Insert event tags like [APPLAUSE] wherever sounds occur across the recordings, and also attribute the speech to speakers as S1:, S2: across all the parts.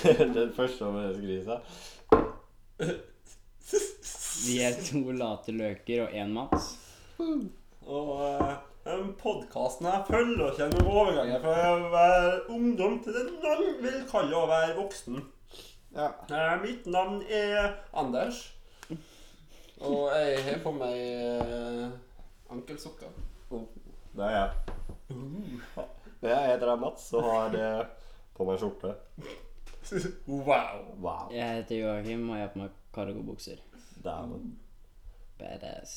S1: [LAUGHS] eh, Den første HMS-grisa.
S2: Vi er to late løker og én Mats.
S3: [LAUGHS] Og eh, den podkasten her følger oss gjennom overgangen fra å være ungdom til det noen vil kalle å være voksen.
S1: Ja.
S3: Eh, mitt navn er Anders. Og jeg har på meg eh, ankelsokker.
S1: Det er jeg.
S3: Uh.
S1: Jeg heter jeg Mats og har eh, på meg skjorte.
S3: Wow.
S1: [LAUGHS] Wow.
S2: Jeg heter Joakim, og jeg har på meg cargobukser.
S1: Dæven.
S2: Badass.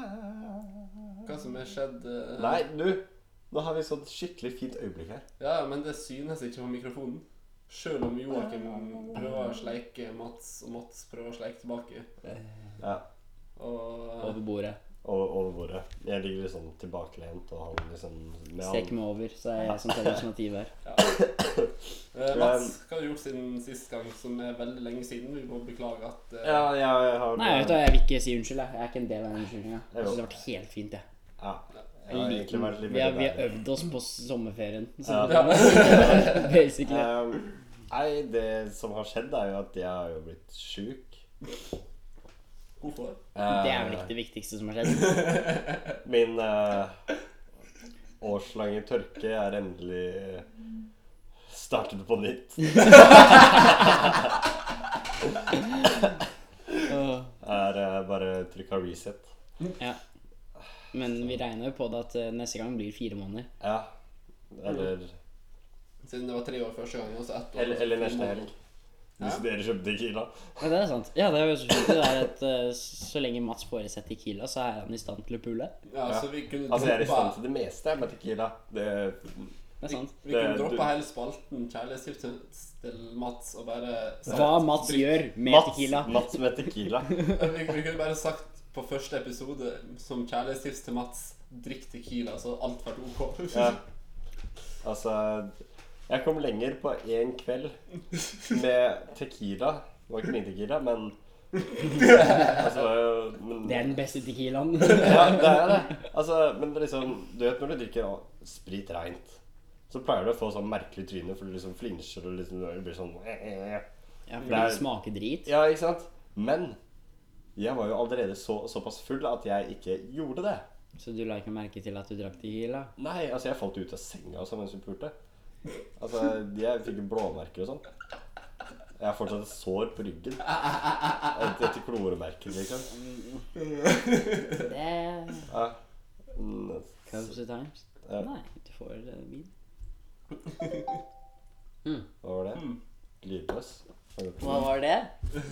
S3: Hva som har skjedd eh,
S1: Nei, du! Nå har vi sånn skikkelig fint øyeblikk her.
S3: Ja, men det synes ikke på mikrofonen. Sjøl om Joakim prøver å sleike Mats, og Mats prøver å sleike tilbake.
S1: Ja.
S3: Og
S2: Over bordet.
S1: Over, over bordet. Jeg ligger litt sånn tilbakelent, og han liksom med
S2: Stek meg over, så er jeg som tar initiativ her.
S3: eh, Mats, hva har du gjort siden sist gang, som er veldig lenge siden? Vi må beklage at eh,
S1: Ja, ja, jeg har
S2: Nei, vet du, hva, jeg vil ikke si unnskyld. Jeg Jeg er ikke en del av den unnskyldninga. Jeg synes det har vært helt fint, jeg.
S1: Ja. Jeg har egentlig vært litt
S2: Vi har, vi har
S1: bedre.
S2: øvd oss på sommerferien. Så
S1: Ja.
S2: basically.
S1: Ehm, Nei, det som har skjedd, er jo at jeg har jo blitt sjuk. Eh,
S3: Hvorfor?
S2: Det er vel ikke det viktigste som har skjedd.
S1: Min eh, årslange tørke er endelig startet på nytt.
S2: Åh.
S1: Er eh, bare trykka reset.
S2: Ja. Men vi regner jo på det at eh, neste gang blir fire måneder.
S1: Ja. Eller,
S3: Siden det var tre år første gangen, og så ett år.
S1: eller, eller neste
S3: måneder.
S1: helg. Hvis dere kjøpte Kila.
S2: Ja, det er sant. Ja, det er jo så fint det der at eh, så lenge Mats får i seg Tequila, så er han i stand til å pule.
S3: Ja, så vi kunne
S1: Altså, jeg er i stand
S3: droppa
S1: til det meste jeg, med Tequila. Det,
S2: Det er sant.
S3: vi kunne
S1: Det-
S3: droppa
S1: du-
S3: hele spalten kjærlighetstips til- til Mats og bare sagt-
S2: Hva Mats gjør med
S1: Mats,
S2: Tequila.
S1: Mats med
S2: [LAUGHS]
S1: Tequila.
S3: [LAUGHS] vi, vi kunne bare sagt på første episode som kjærlighetstips til Mats drikk Tequila, så har alt vært OK.
S1: Ja. Altså Jeg kom lenger på én kveld med tequila. Det var ikke min tequila, men Altså men,
S2: Det er den beste
S1: [LAUGHS]
S2: Tequilaen.
S1: Ja, det er det. Altså, men det er liksom Du vet når du drikker sprit reint, så pleier du å få sånn merkelig tryne, for du liksom flinsjer og liksom du blir sånn
S2: Ja, for
S1: Det er-
S2: den smaker drit.
S1: Ja, ikke sant? Men jeg var jo allerede så, såpass full at jeg ikke gjorde det.
S2: Så du la ikke merke til at du drakk Tequila?
S1: Nei, altså jeg falt ut av senga også mens hun pulte. Altså, jeg fikk blåmerker og sånn. Jeg har fortsatt et sår på ryggen. Et, et kloremerke, liksom.
S2: Det
S1: Ja. Mm,
S2: Cubs at times.
S1: Ja.
S2: Nei, du får eh, vin.
S1: Hva var det? Lydløs?
S2: Hva var det?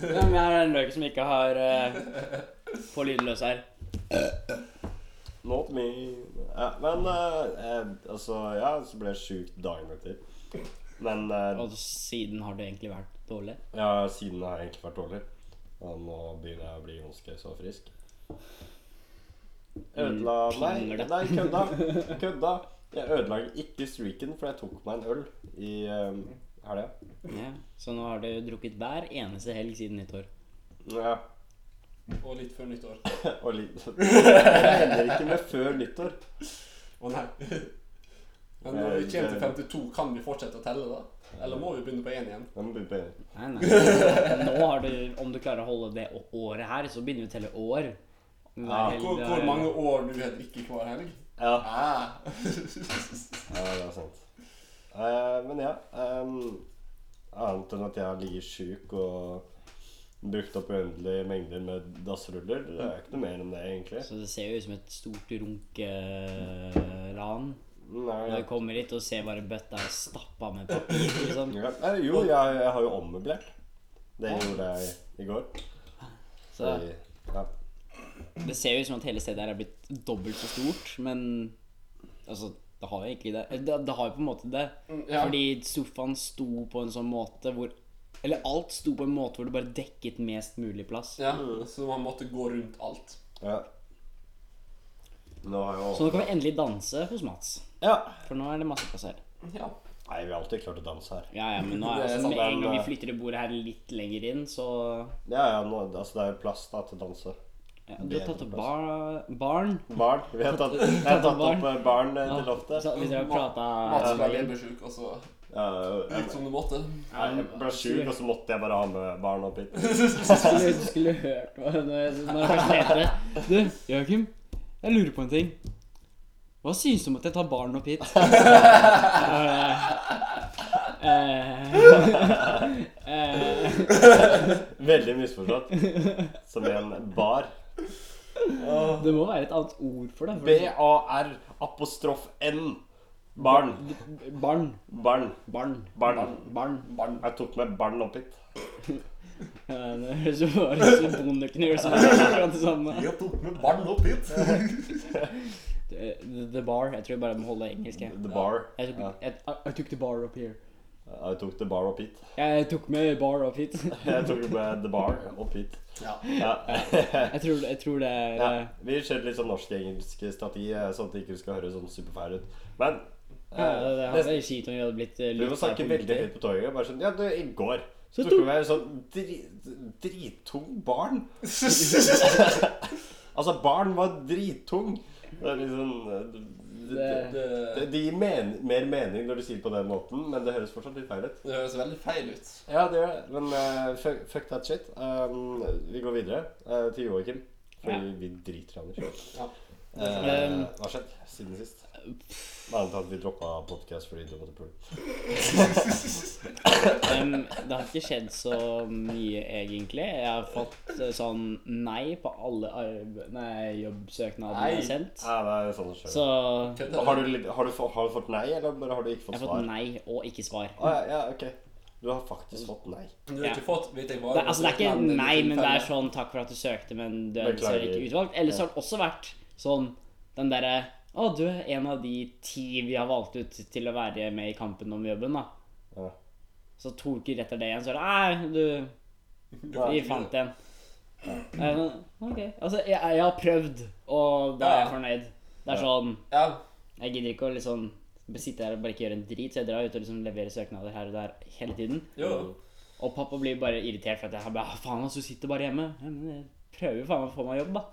S2: Ja, men jeg er den løken som ikke har uh, på lydløs her.
S1: Not me. Ja, men eh, eh, altså Ja, så ble jeg sjuk dagen etter. Men eh,
S2: Og siden har det egentlig vært dårlig.
S1: ja, siden har jeg egentlig vært dårlig. Og nå begynner jeg å bli ganske så frisk. Jeg Ødela Nei,
S2: Pinner det.
S1: nei kødda. kødda. Jeg ødela ikke streaken, for jeg tok meg en øl i um, helga.
S2: Ja. Så nå har du drukket hver eneste helg siden nyttår.
S1: Ja,
S3: [LAUGHS] Og litt før nyttår.
S1: og litt [LAUGHS] Det hender ikke med før nyttår.
S3: Å nei. Men når vi kommer til 52, kan vi fortsette å telle da? Eller må vi begynne på én igjen?
S1: Jeg må begynne på en.
S2: Nei, nei. Nå har du, om du klarer å holde det å- året her, så begynner vi å telle år. Hver
S1: Ja,
S2: helg
S3: Hvor,
S2: du
S3: hvor
S2: har-
S3: mange år du har drukket hver helg?
S1: Ja,
S3: Ah. [LAUGHS]
S1: ja, det er sant. Eh, men ja ehm, Annet enn at jeg har ligget sjuk og brukt opp uendelige mengder med dassruller. Det er ikke noe mer enn det, egentlig.
S2: Så det ser jo ut som et stort runkeran.
S1: Nei,
S2: Når du kommer hit og ser bare bøtta er stappa med papir, liksom.
S1: ja. Nei, jo, jeg, jeg har jo ommøblert. Det gjorde jeg i går.
S2: Så
S1: I- Ja.
S2: det ser jo ut som at hele stedet her er blitt dobbelt så stort, men altså det har jo egentlig det. Det, det har jo på en måte det.
S3: Mm, ja.
S2: Fordi sofaen sto på en sånn måte hvor Eller alt sto på en måte hvor det bare dekket mest mulig plass.
S3: ja, så man måtte gå rundt alt.
S1: Ja. Nå har
S2: Så
S1: jo
S2: nå kan vi endelig danse hos Mats.
S1: Ja.
S2: For nå er det masse plass her.
S3: Ja.
S1: Nei, vi har alltid klart å danse her.
S2: Ja, ja, men nå er
S3: Det er
S2: altså,
S3: sant,
S2: Med en
S1: men,
S2: gang vi
S1: eh,
S2: flytter det bordet her litt lenger inn, så
S1: Ja, ja, nå, altså det altså. er jo plass da til å danse.
S2: Ja, du har tatt opp bar, barn.
S1: Barn. Vi har [LAUGHS] tatt, jeg har tatt opp eh, barn eh, til loftet.
S2: Så hvis dere har
S1: Mats-
S2: prata
S1: Ja.
S3: ble hjemmesjuk, og så
S1: Ja,
S3: gikk
S1: jeg,
S3: som du måtte.
S1: jeg ble sjuk, og så måtte jeg bare ha med barn opp hit.
S2: skulle, du skulle hørt hva hun når jeg først heter Du, Joakim, jeg lurer på en ting. Hva synes du om at jeg tar barn opp
S1: [LAUGHS]
S2: hit? Eh, eh, eh,
S1: Veldig misforstått. [LAUGHS] Som i en bar.
S2: det må være et annet ord for det. for det-
S1: B-a-r apostrof n. Barn.
S2: Barn.
S1: Barn.
S2: Barn.
S1: Barn.
S2: Barn.
S3: Barn.
S1: Jeg tok med barn opp hit.
S2: Ja, Eh, Det høres jo bare ut som Bondeknur som er akkurat det samme.
S3: Jeg tok med barn opp hit.
S2: The, Eh, the Bar. Jeg tror jeg bare må holde engelsk. Jeg,
S1: The bar.
S2: jeg, tok,
S1: Ja.
S2: jeg, I took the bar up here.
S1: Jeg tok the bar opp hit.
S2: Jeg tok med bar opp hit.
S1: [LAUGHS] Jeg tok med the bar opp hit.
S3: Ja.
S1: Ja. [LAUGHS]
S2: Jeg tror, jeg tror det er
S1: Ja, vi skjer litt sånn norsk-engelsk strategi, eh, sånn at det ikke skal høres sånn superfeil ut. Men
S2: Ja,
S1: eh,
S2: det, det hadde
S1: neste-
S2: vært kjipt om vi hadde blitt eh,
S1: du må
S2: litt
S1: snakke
S2: her på
S1: veldig
S2: middag.
S1: høyt på toget. Bare sånn Ja, du, i går så
S2: Så
S1: tok vi med en sånn dri, drittung barn. [LAUGHS] Altså, barn var drittung. Det er liksom eh, det- det-
S2: Det-
S1: det, det gir men, mer mening når du sier det på den måten, men det høres fortsatt litt feil ut.
S3: Det høres veldig feil ut.
S1: Ja, det gjør det. Men eh, fuck, fuck that shit. Um, vi går videre eh, til Joakim. For
S2: Ja.
S1: vi driter i Anders.
S3: Ja.
S1: Eh,
S2: Um,
S1: hva har skjedd siden sist? Med annet at vi droppa podcast fordi du måtte pule.
S2: Em, det har ikke skjedd så mye, egentlig. Jeg har fått eh, sånn nei på alle arbe- nei, jobbsøknadene jeg
S3: Nei.
S2: har sendt.
S1: Ja, det er sånn det skjer.
S2: Så jeg
S3: Kødder
S1: har, du, litt- har, du, få- har du fått nei, eller bare har du ikke fått
S2: har fått
S1: svar?
S2: nei og ikke svar.
S1: Å, ja, ja, ok. Du har faktisk fått nei.
S3: Du har ikke fått vet jeg hva
S2: Det, altså, det er
S3: men liksom
S2: ikke nei, men det er
S3: tilfelle.
S2: sånn 'takk for at du søkte, men du er
S1: Beklager.
S2: dessverre ikke utvalgt'. Eller så har det også vært sånn den derre 'Å, du er en av de ti vi har valgt ut til å være med i kampen om jobben', da.
S1: Ja.
S2: Så to uker etter det igjen, så er det 'Nei, du Vi fant en'. Eh, men, Ok. Altså, jeg, jeg har prøvd, og da er jeg
S3: Ja.
S2: fornøyd. Det er sånn
S3: Ja.
S2: Jeg gidder ikke å liksom sitte her og bare ikke gjøre en drit, så jeg drar ut og liksom leverer søknader her og der hele tiden.
S3: Jo.
S2: Og pappa blir bare irritert for at jeg har bare, «Ah, faen altså, du sitter bare hjemme. Ja, men jeg prøver jo faen meg å få meg jobb, da.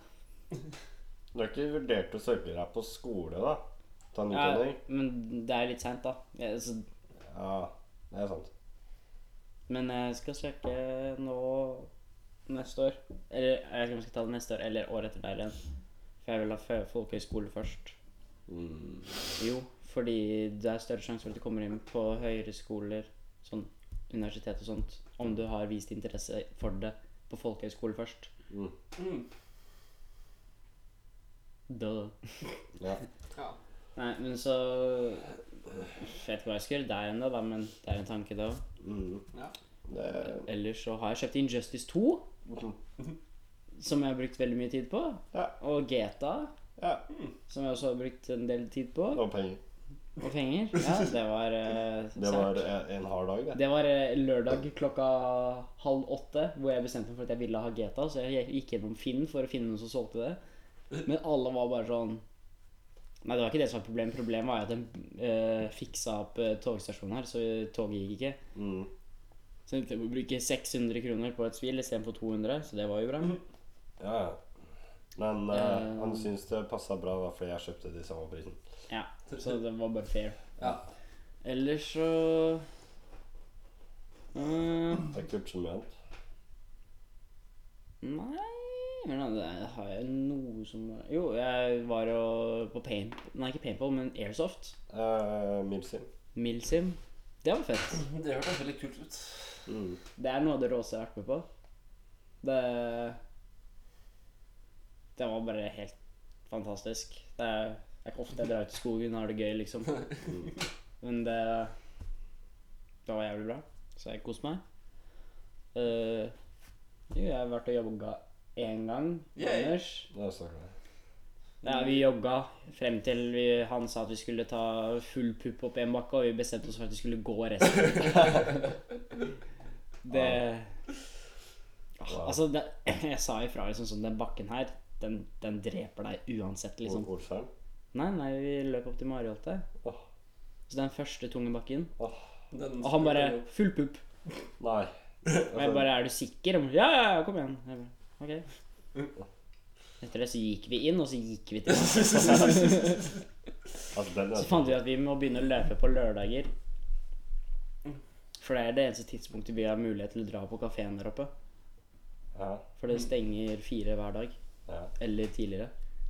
S1: Du har ikke vurdert å søke deg på skole, da? Ta en
S2: Ja,
S1: utdanning?
S2: men det er jo litt seint, da. Jeg, så,
S1: Ja, det er sant.
S2: men jeg skal søke nå neste år. Eller jeg vet ikke om jeg skal ta det neste år eller året etter der igjen. For jeg vil ha fø- folkehøyskole først.
S1: Mm.
S2: Jo, fordi det er større sjanse for at du kommer inn på høyere skoler, sånn universitet og sånt, om du har vist interesse for det på folkehøyskole først.
S3: Mm.
S2: Duh.
S1: Ja.
S3: Ja.
S2: Nei, men så Jeg vet ikke hva jeg skal gjøre der ennå, da, men det er en tanke, da.
S1: Mm.
S3: Ja.
S1: Det,
S2: Ellers så har jeg kjøpt Injustice 2, som jeg har brukt veldig mye tid på.
S1: Ja.
S2: Og GTA,
S1: ja.
S2: som jeg også har brukt en del tid på.
S1: Det var penger.
S2: Og penger. Ja, det var eh,
S1: Det var
S2: sært.
S1: eh, en hard dag, det.
S2: Det var eh, lørdag klokka halv åtte, hvor jeg bestemte meg for at jeg ville ha GTA. Så jeg gikk gjennom Finn for å finne noen som solgte det. Men alle var bare sånn Nei, det var ikke det som var problemet. Problemet var jo at de eh, fiksa opp eh, togstasjonen her, så toget gikk ikke.
S1: Mm.
S2: Så jeg må bruke 600 kroner på et spill istedenfor 200, så det var jo bra.
S1: Ja, ja. Men eh,
S2: Eh,
S1: han syns det passa bra, da, fordi jeg kjøpte det i samme prisen.
S2: Ja, Så det var bare fair.
S3: Ja.
S2: Ellers så eh,
S1: Det er kult som mye annet.
S2: Nei men da, det har jeg noe som Jo, jeg var jo på paint... Nei, ikke paintball, men airsoft.
S1: Eh, Milsim.
S2: Milsim. Det var fett.
S3: Det hørtes veldig kult ut.
S1: Mm.
S2: Det er noe av det råeste jeg har vært med på. Det Det var bare helt fantastisk. Det er, det er ikke ofte jeg drar ut i skogen og har det gøy, liksom. Men det Det var jævlig bra, så jeg koste meg. Eh, jo, jeg har vært og jogga én gang.
S3: Yay.
S2: Anders.
S1: Det snakker vi om.
S2: Ja, vi jogga frem til vi, han sa at vi skulle ta full pupp opp en bakke, og vi bestemte oss for at vi skulle gå resten. det Ah,
S1: Wow.
S2: Altså, det, [LAUGHS] jeg sa ifra liksom sånn Den bakken her, den, den dreper deg uansett, liksom.
S1: Ol- Olsheim.
S2: Nei, nei, vi løp opp til Mariholte.
S1: Åh,
S2: Så den første tunge bakken.
S1: åh,
S3: Den
S2: Og han bare Full pupp. [LAUGHS]
S1: Nei.
S2: Og jeg bare Er du sikker? Jeg bare, ja, ja, ja, kom igjen. Jeg bare, ok. Etter det så gikk vi inn, og så gikk vi til
S1: Altså, den
S2: Så
S1: er
S2: fant vi ut at vi må begynne å løpe på lørdager. For det er det eneste tidspunktet vi har mulighet til å dra på kafeen der oppe.
S1: ja,
S2: For
S3: Mm.
S2: det stenger fire hver dag.
S1: ja,
S2: Eller tidligere.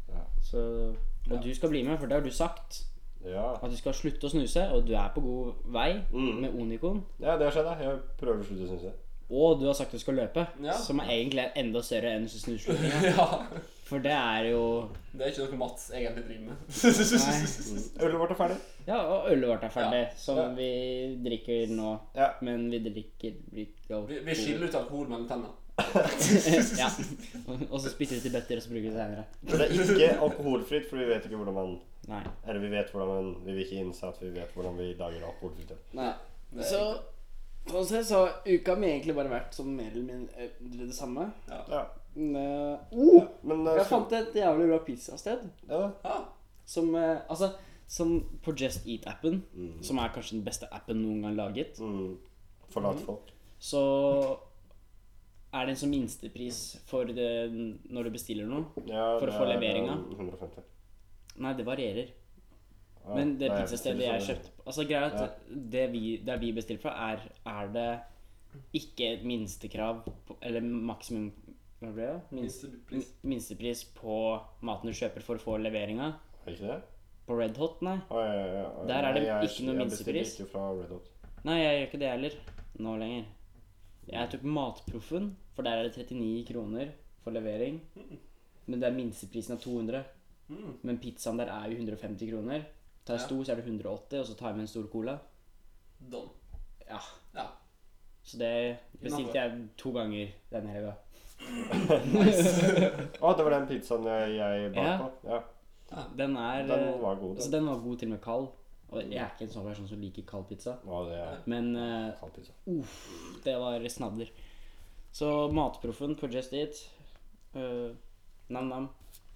S1: Ja.
S2: Så, og
S3: Ja.
S2: du skal bli med, for det har du sagt.
S1: ja.
S2: At du skal slutte å snuse, og du er på god vei
S1: Mm.
S2: med Onikon.
S1: ja, det har skjedd. ja. Jeg prøver å slutte å snuse.
S2: Og du har sagt du skal løpe,
S3: Ja.
S2: som er egentlig er enda større enn snusslutning.
S3: [LAUGHS] ja.
S2: For det er jo
S3: Det er ikke noe Mats egentlig driver med.
S2: Nei.
S1: Ølet vårt er ferdig.
S2: Ja, og ølet vårt er ferdig,
S3: Ja.
S2: som
S1: Ja.
S2: vi drikker nå.
S1: Ja.
S2: Men vi drikker drikker
S3: Vi, vi skiller ut alkohol mellom tennene.
S2: ja. Og så spytter vi til bøtter, og så bruker vi det senere.
S1: For det er
S2: [LAUGHS]
S1: ikke alkoholfritt, for vi vet ikke hvordan man
S2: Nei.
S1: Eller vi vet hvordan man Vi vil ikke innse at vi vet hvordan vi lager alkoholfritt øl.
S4: Nei.
S3: Det er
S4: Så sånn sett så har uka mi egentlig bare vært som
S2: sånn
S4: mer eller
S2: eh,
S4: mindre det samme.
S1: Ja.
S4: Men, eh, oh,
S1: Men eh,
S4: jeg
S1: skal-
S4: fant et jævlig bra pizzasted
S1: ja, da.
S3: Ja.
S4: som eh, Altså,
S2: Som på Just Eat-appen,
S1: Mm.
S2: som er kanskje den beste appen noen gang laget,
S1: Mm. Forlate folk.
S2: så er det en sånn minstepris for det, når du bestiller noe.
S1: Ja,
S2: For å
S1: det
S2: få
S1: er, eh,
S2: leveringa?
S1: 150.
S2: Nei, det varierer.
S1: Ja,
S2: Men det
S1: nei,
S2: pizzastedet
S1: fyller
S2: jeg
S1: sånn.
S2: kjøpte Altså greia er at det vi, det vi bestiller fra, er, er det ikke et minstekrav på- Eller maksimum Hva ble det? Minst,
S3: Minstepris.
S2: min- minstepris på maten du kjøper for å få leveringa.
S1: Er det ikke det?
S2: På Red Hot, nei.
S1: Å, ja, ja, ja, ja.
S2: Der er det
S1: Nei, jeg-
S2: ikke noe
S1: Jeg
S2: minstepris.
S1: bestiller ikke fra Red Hot.
S2: Nei, jeg gjør ikke det heller. Nå lenger. Jeg tok Matproffen, for der er det 39 kroner for levering. Men det er minsteprisen av 200.
S3: Mm.
S2: Men pizzaen der er jo 150 kroner. Tar jeg
S3: Ja.
S2: stor, så er det 180, og så tar jeg med en stor cola.
S3: Don.
S2: Ja.
S3: Ja.
S2: Så det bestilte jeg to ganger denne helga.
S1: Å, det var den pizzaen jeg, jeg ba
S2: Ja.
S1: på. Ja.
S2: Den er
S1: Den var god,
S2: altså,
S1: den.
S2: den var god til og med kald. Og jeg er ikke en sånn person som liker kald pizza.
S1: Å, det er
S2: Men eh,
S1: kald pizza.
S2: uff, det var snadder. Så Matproffen på Just Eat. eh, Nam-nam.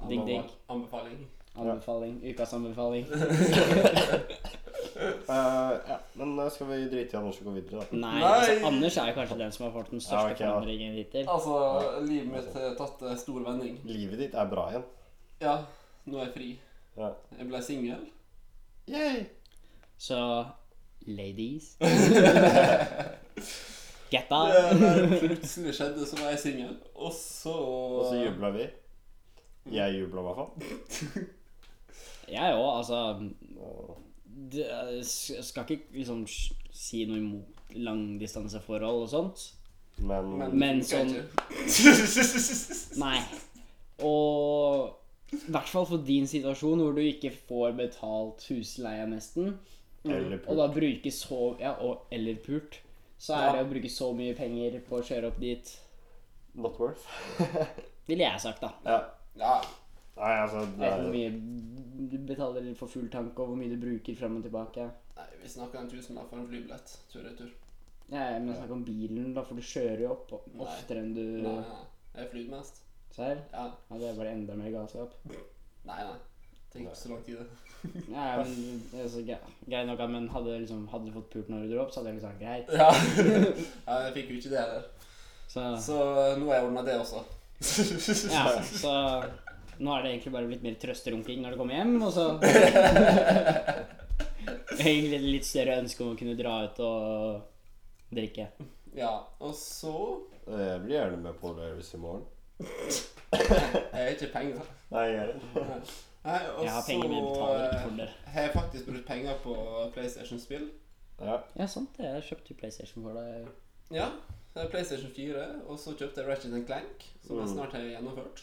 S2: Digg, digg.
S3: Anbefaling.
S2: Anbefaling.
S1: [LAUGHS]
S2: Ukas anbefaling.
S1: Eh, ja. Men eh, skal vi drite i Anders og gå videre, da?
S2: Nei,
S3: Nei.
S2: altså, Anders er jo kanskje den som har fått den
S1: Ja,
S2: største
S1: ok, ja.
S2: forandringen hittil.
S3: Altså, livet mitt har tatt eh, stor vending.
S1: Livet ditt er bra igjen.
S3: Ja, nå er jeg fri.
S1: Ja.
S3: Jeg ble singel.
S1: Yay!
S2: Så
S1: [LAUGHS]
S2: ladies Get
S3: Det
S2: that.
S3: det Eh, plutselig skjedde, så var jeg singel. Og så
S1: Og så jubla vi. Jeg jubla i hvert fall.
S2: Jeg òg, altså.
S1: Og-
S2: det, jeg s- skal ikke liksom s- si noe imot langdistanseforhold og sånt.
S1: Men,
S2: Men sånn-
S3: funka ikke.
S2: Nei. Og i hvert fall for din situasjon, hvor du ikke får betalt husleia nesten,
S1: Eller
S2: og
S1: pult.
S2: da bruke så Ja, og, eller pult. Så er
S3: Ja.
S2: det å bruke så mye penger på å kjøre opp dit,
S1: Not worth. [LAUGHS]
S2: ville jeg sagt, da.
S1: ja.
S3: [LAUGHS] Ja.
S1: Nei, altså
S2: Jeg
S1: det
S2: vet ikke hvor
S1: er,
S2: mye du betaler for full tank, og hvor mye du bruker frem og tilbake.
S3: Nei, vi snakka en tusenlapp for en flybillett tur-retur.
S2: Ja, men snakk om bilen, da, for du kjører jo opp
S3: Nei.
S2: oftere enn
S3: Nei,
S2: du
S3: nei. Jeg flyr mest.
S2: Serr?
S3: Ja.
S2: Ja, det er bare enda mer galskap.
S3: Nei, nei. Tenk ikke så lang tid, det.
S2: Nei, men det er så gre- Greit nok, ja, men hadde, liksom, hadde du fått pult når du dro opp, så hadde jeg liksom sagt greit.
S3: [LAUGHS] Ja. ja, jeg fikk jo ikke det heller.
S2: Så,
S3: Så eh, nå har jeg ordna det også.
S2: ja, så nå er det egentlig bare blitt mer trøsterunking når du kommer hjem, og så [LAUGHS] Egentlig et litt større ønske om å kunne dra ut og drikke.
S3: [LAUGHS] Ja, og så
S1: eh, Jeg blir gjerne med på Lervis i morgen.
S3: Jeg har ikke penger.
S1: Nei, jeg gjør det.
S3: Nei, og
S2: Jeg har penger, men jeg betaler ikke
S3: så
S2: for det.
S3: eh, har jeg faktisk brukt penger på PlayStation-spill.
S1: Ja.
S2: Ja, sant det. Jeg kjøpte jo PlayStation for deg.
S3: Ja. det er PlayStation 4, og så kjøpte jeg Ratchet Clank, som jeg
S1: Mm.
S3: snart har gjennomført.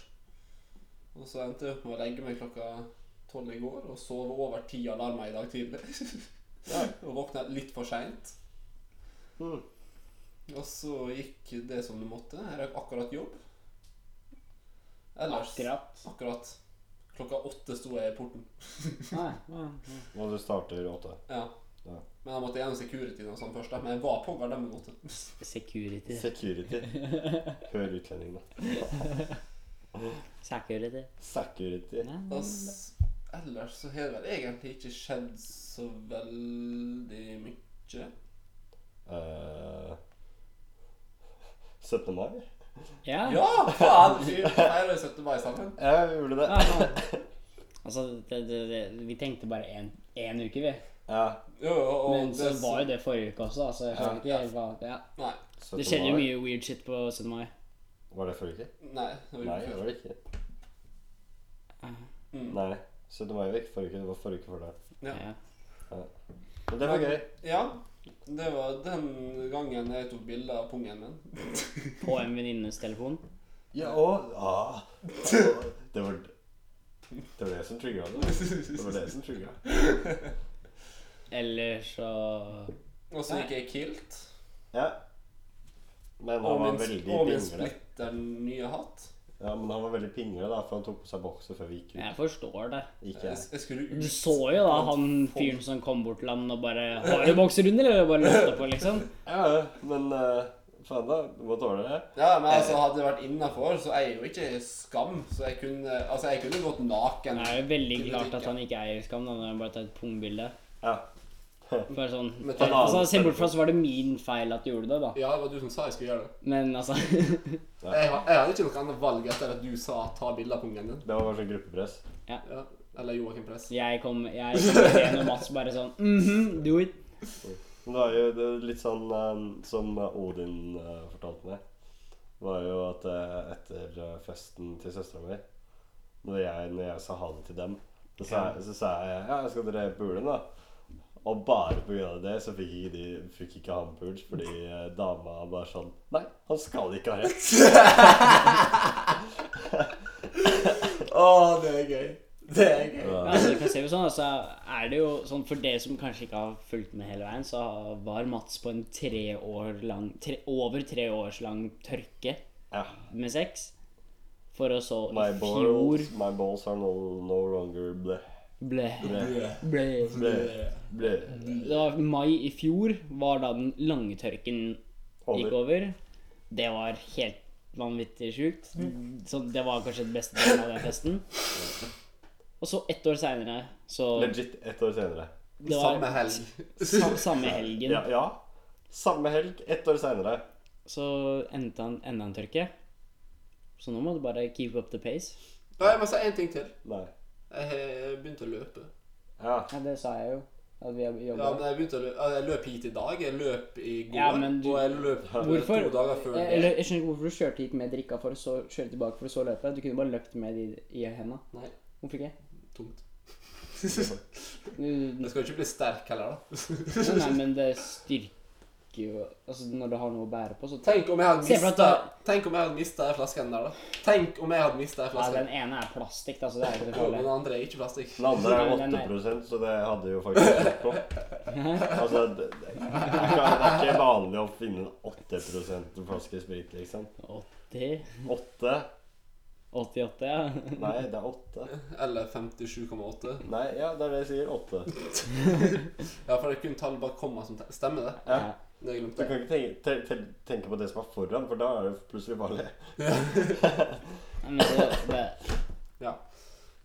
S3: Og så endte jeg opp med å legge meg klokka tolv i går og sove over ti alarmer i dag [LAUGHS] tidlig. og våkna litt for seint.
S1: Mm.
S3: Og så gikk det som det måtte. Jeg rakk akkurat jobb. Ellers
S2: Akkurat.
S3: akkurat. Klokka åtte sto jeg i porten.
S2: Nei, ja.
S1: Og du starter åtte.
S3: Ja.
S1: Ja.
S3: Men jeg måtte gjennom security og sånn først. da. Men jeg var på Gardermoen åtte.
S2: Security.
S1: Security. Hør utlendingene.
S2: Security.
S1: Security.
S2: Nei,
S3: Og s- Ellers så har det vel egentlig ikke skjedd så veldig mye.
S1: Eh, 17. mai?
S2: Ja.
S3: Ja,
S2: [LAUGHS]
S3: faen! fy, Nei, vi satte bare sammen.
S1: Jeg gjorde det.
S2: Ja, ja. Altså, det, det, det, vi tenkte bare én- én uke, vi.
S1: Ja.
S3: Jo, jo, og
S2: Men så
S3: det-
S2: var jo det forrige uke også. Altså, jeg skjønner ikke helt hva- ja.
S3: Nei.
S2: Det
S1: 17.
S2: skjedde jo
S1: mai.
S2: mye weird shit på 17. mai.
S1: Var det forrige uke?
S3: Nei, det
S1: Nei,
S3: var
S1: det
S3: ikke
S1: var det ikke. Nei. 17. mai var ikke forrige uke. Det var forrige uke før det.
S3: Ja.
S2: Ja.
S1: Men det var gøy.
S3: Ja, det var den gangen jeg tok bilde av pungen
S2: [LAUGHS]
S3: min.
S2: På en venninnes telefon.
S1: Ja, og ah, Det var det var det som trigga det. Det var det som trigga.
S2: Eller så
S3: Og så gikk jeg i kilt.
S1: Ja. Men han
S3: Og
S1: var
S3: min,
S1: veldig
S3: og min
S1: pingle.
S3: splitter nye hatt.
S1: Ja, men han var veldig pingle, da, for han tok på seg bokser før vi gikk ut.
S2: Jeg forstår det.
S1: Gikk
S3: Jeg,
S1: jeg.
S3: jeg skulle ut
S2: Du så jo da han fyren som kom bort til ham og bare 'Har du bokser under?' eller bare løfta på,
S3: [LAUGHS]
S2: liksom.
S1: Ja, ja, men eh, faen, da. Du må tåle det.
S3: Ja, men altså, hadde det vært innafor, så eier jeg jo ikke skam. Så jeg kunne, altså, jeg kunne gått naken.
S2: Det er jo veldig klart at han ikke eier skam da, når han bare tar et pungbilde.
S1: Ja.
S2: Bare sånn
S3: Men ta en annen
S2: altså, Se bort fra så var det min feil at du gjorde det, da.
S3: Ja, det var du som sa jeg skulle gjøre det.
S2: Men altså [LAUGHS]
S3: Jeg, ha- jeg hadde ikke noe annet valg etter at du sa 'ta bilde av pungen din'.
S1: Det var bare sånn gruppepress.
S3: Ja. Eller Joakim Press.
S2: Jeg kom
S3: [LAUGHS]
S2: Jeg kom til Ren og Mats bare sånn mhm, do it.
S1: Men det var jo det var litt sånn eh, som Odin eh, fortalte meg, var jo at eh, etter eh, festen til søstera mi, når jeg, når jeg sa ha det til dem, så sa, jeg- så sa jeg ja, jeg skal dere pule, da. Og bare pga. det så fikk ikke, de, fikk ikke han pult, fordi eh, dama bare sånn Nei, han skal ikke ha rett.
S3: Å, det er gøy. Det er gøy.
S2: Ja, altså, du kan se det sånn, altså, er det jo sånn, For det som kanskje ikke har fulgt med hele veien, så var Mats på en tre år lang, tre, over tre års lang tørke
S1: Ja.
S2: med sex. For å så i
S1: My
S2: fjor
S1: balls, my balls are no, no longer ble,
S2: ble,
S1: ble,
S2: ble.
S1: ble, ble.
S2: Det var Mai i fjor var da den lange tørken gikk
S1: Over.
S2: over. Det var helt vanvittig sjukt. Så det var kanskje det beste delen av den
S1: [LAUGHS]
S2: festen. Og så ett år seinere, så
S1: Legit ett år senere.
S2: det var
S3: Samme helg.
S2: sa- samme helgen.
S1: Ja, ja. Samme helg, ett år seinere.
S2: Så endte han enda en tørke. Så nå må du bare keep up the pace.
S3: [LAUGHS] Nei, jeg må si én ting til.
S1: Nei.
S3: Jeg har begynt å løpe.
S1: Ja.
S2: Ja, det sa jeg jo. At vi
S3: Ja, men jeg begynte å løpe Jeg løp hit i dag. Jeg løp i går.
S2: Ja, men du-
S3: Og jeg løp
S2: Hvorfor? Eh,
S3: to dager før det.
S2: Eller, jeg skjønner ikke hvorfor du kjørte hit med drikka for å så kjøre tilbake for å så løpe. Du kunne bare løpt med de i henda.
S3: Nei.
S2: Hvorfor ikke?
S3: [LAUGHS] Tungt.
S2: Du, nei,
S3: Jeg skal jo ikke bli sterk heller, da.
S2: nei, men det styrker jo Altså, når du har noe å bære på, så
S3: Tenk om jeg hadde
S2: Se for at
S3: mista Tenk om jeg hadde mistet den flasken der, da. Tenk om jeg hadde mista den
S2: Ja,
S3: flasken.
S2: den ene er plastikk, da, så det er ikke det
S3: Jo, men den
S2: farlige.
S3: andre er ikke plastikk.
S1: Den andre er
S2: Nei, nei,
S1: 8 så det hadde jo faktisk vært på.
S2: [LAUGHS]
S1: Altså, det, det, det er ikke vanlig å finne en 8 flaske sprit, liksom.
S2: 80?
S1: 8?
S2: 88, ja.
S1: Nei, det er 8.
S3: Eller 57,8.
S1: Nei, ja, det er det jeg sier. 8.
S3: Ja, for det er kun tall bak komma som te- Stemmer det?
S1: Ja.
S3: Det har jeg
S1: Du
S3: glemte.
S1: kan ikke tenke, te, te, tenke på det som er foran, for da er det plutselig farlig.
S2: Men så, det,
S3: Ja.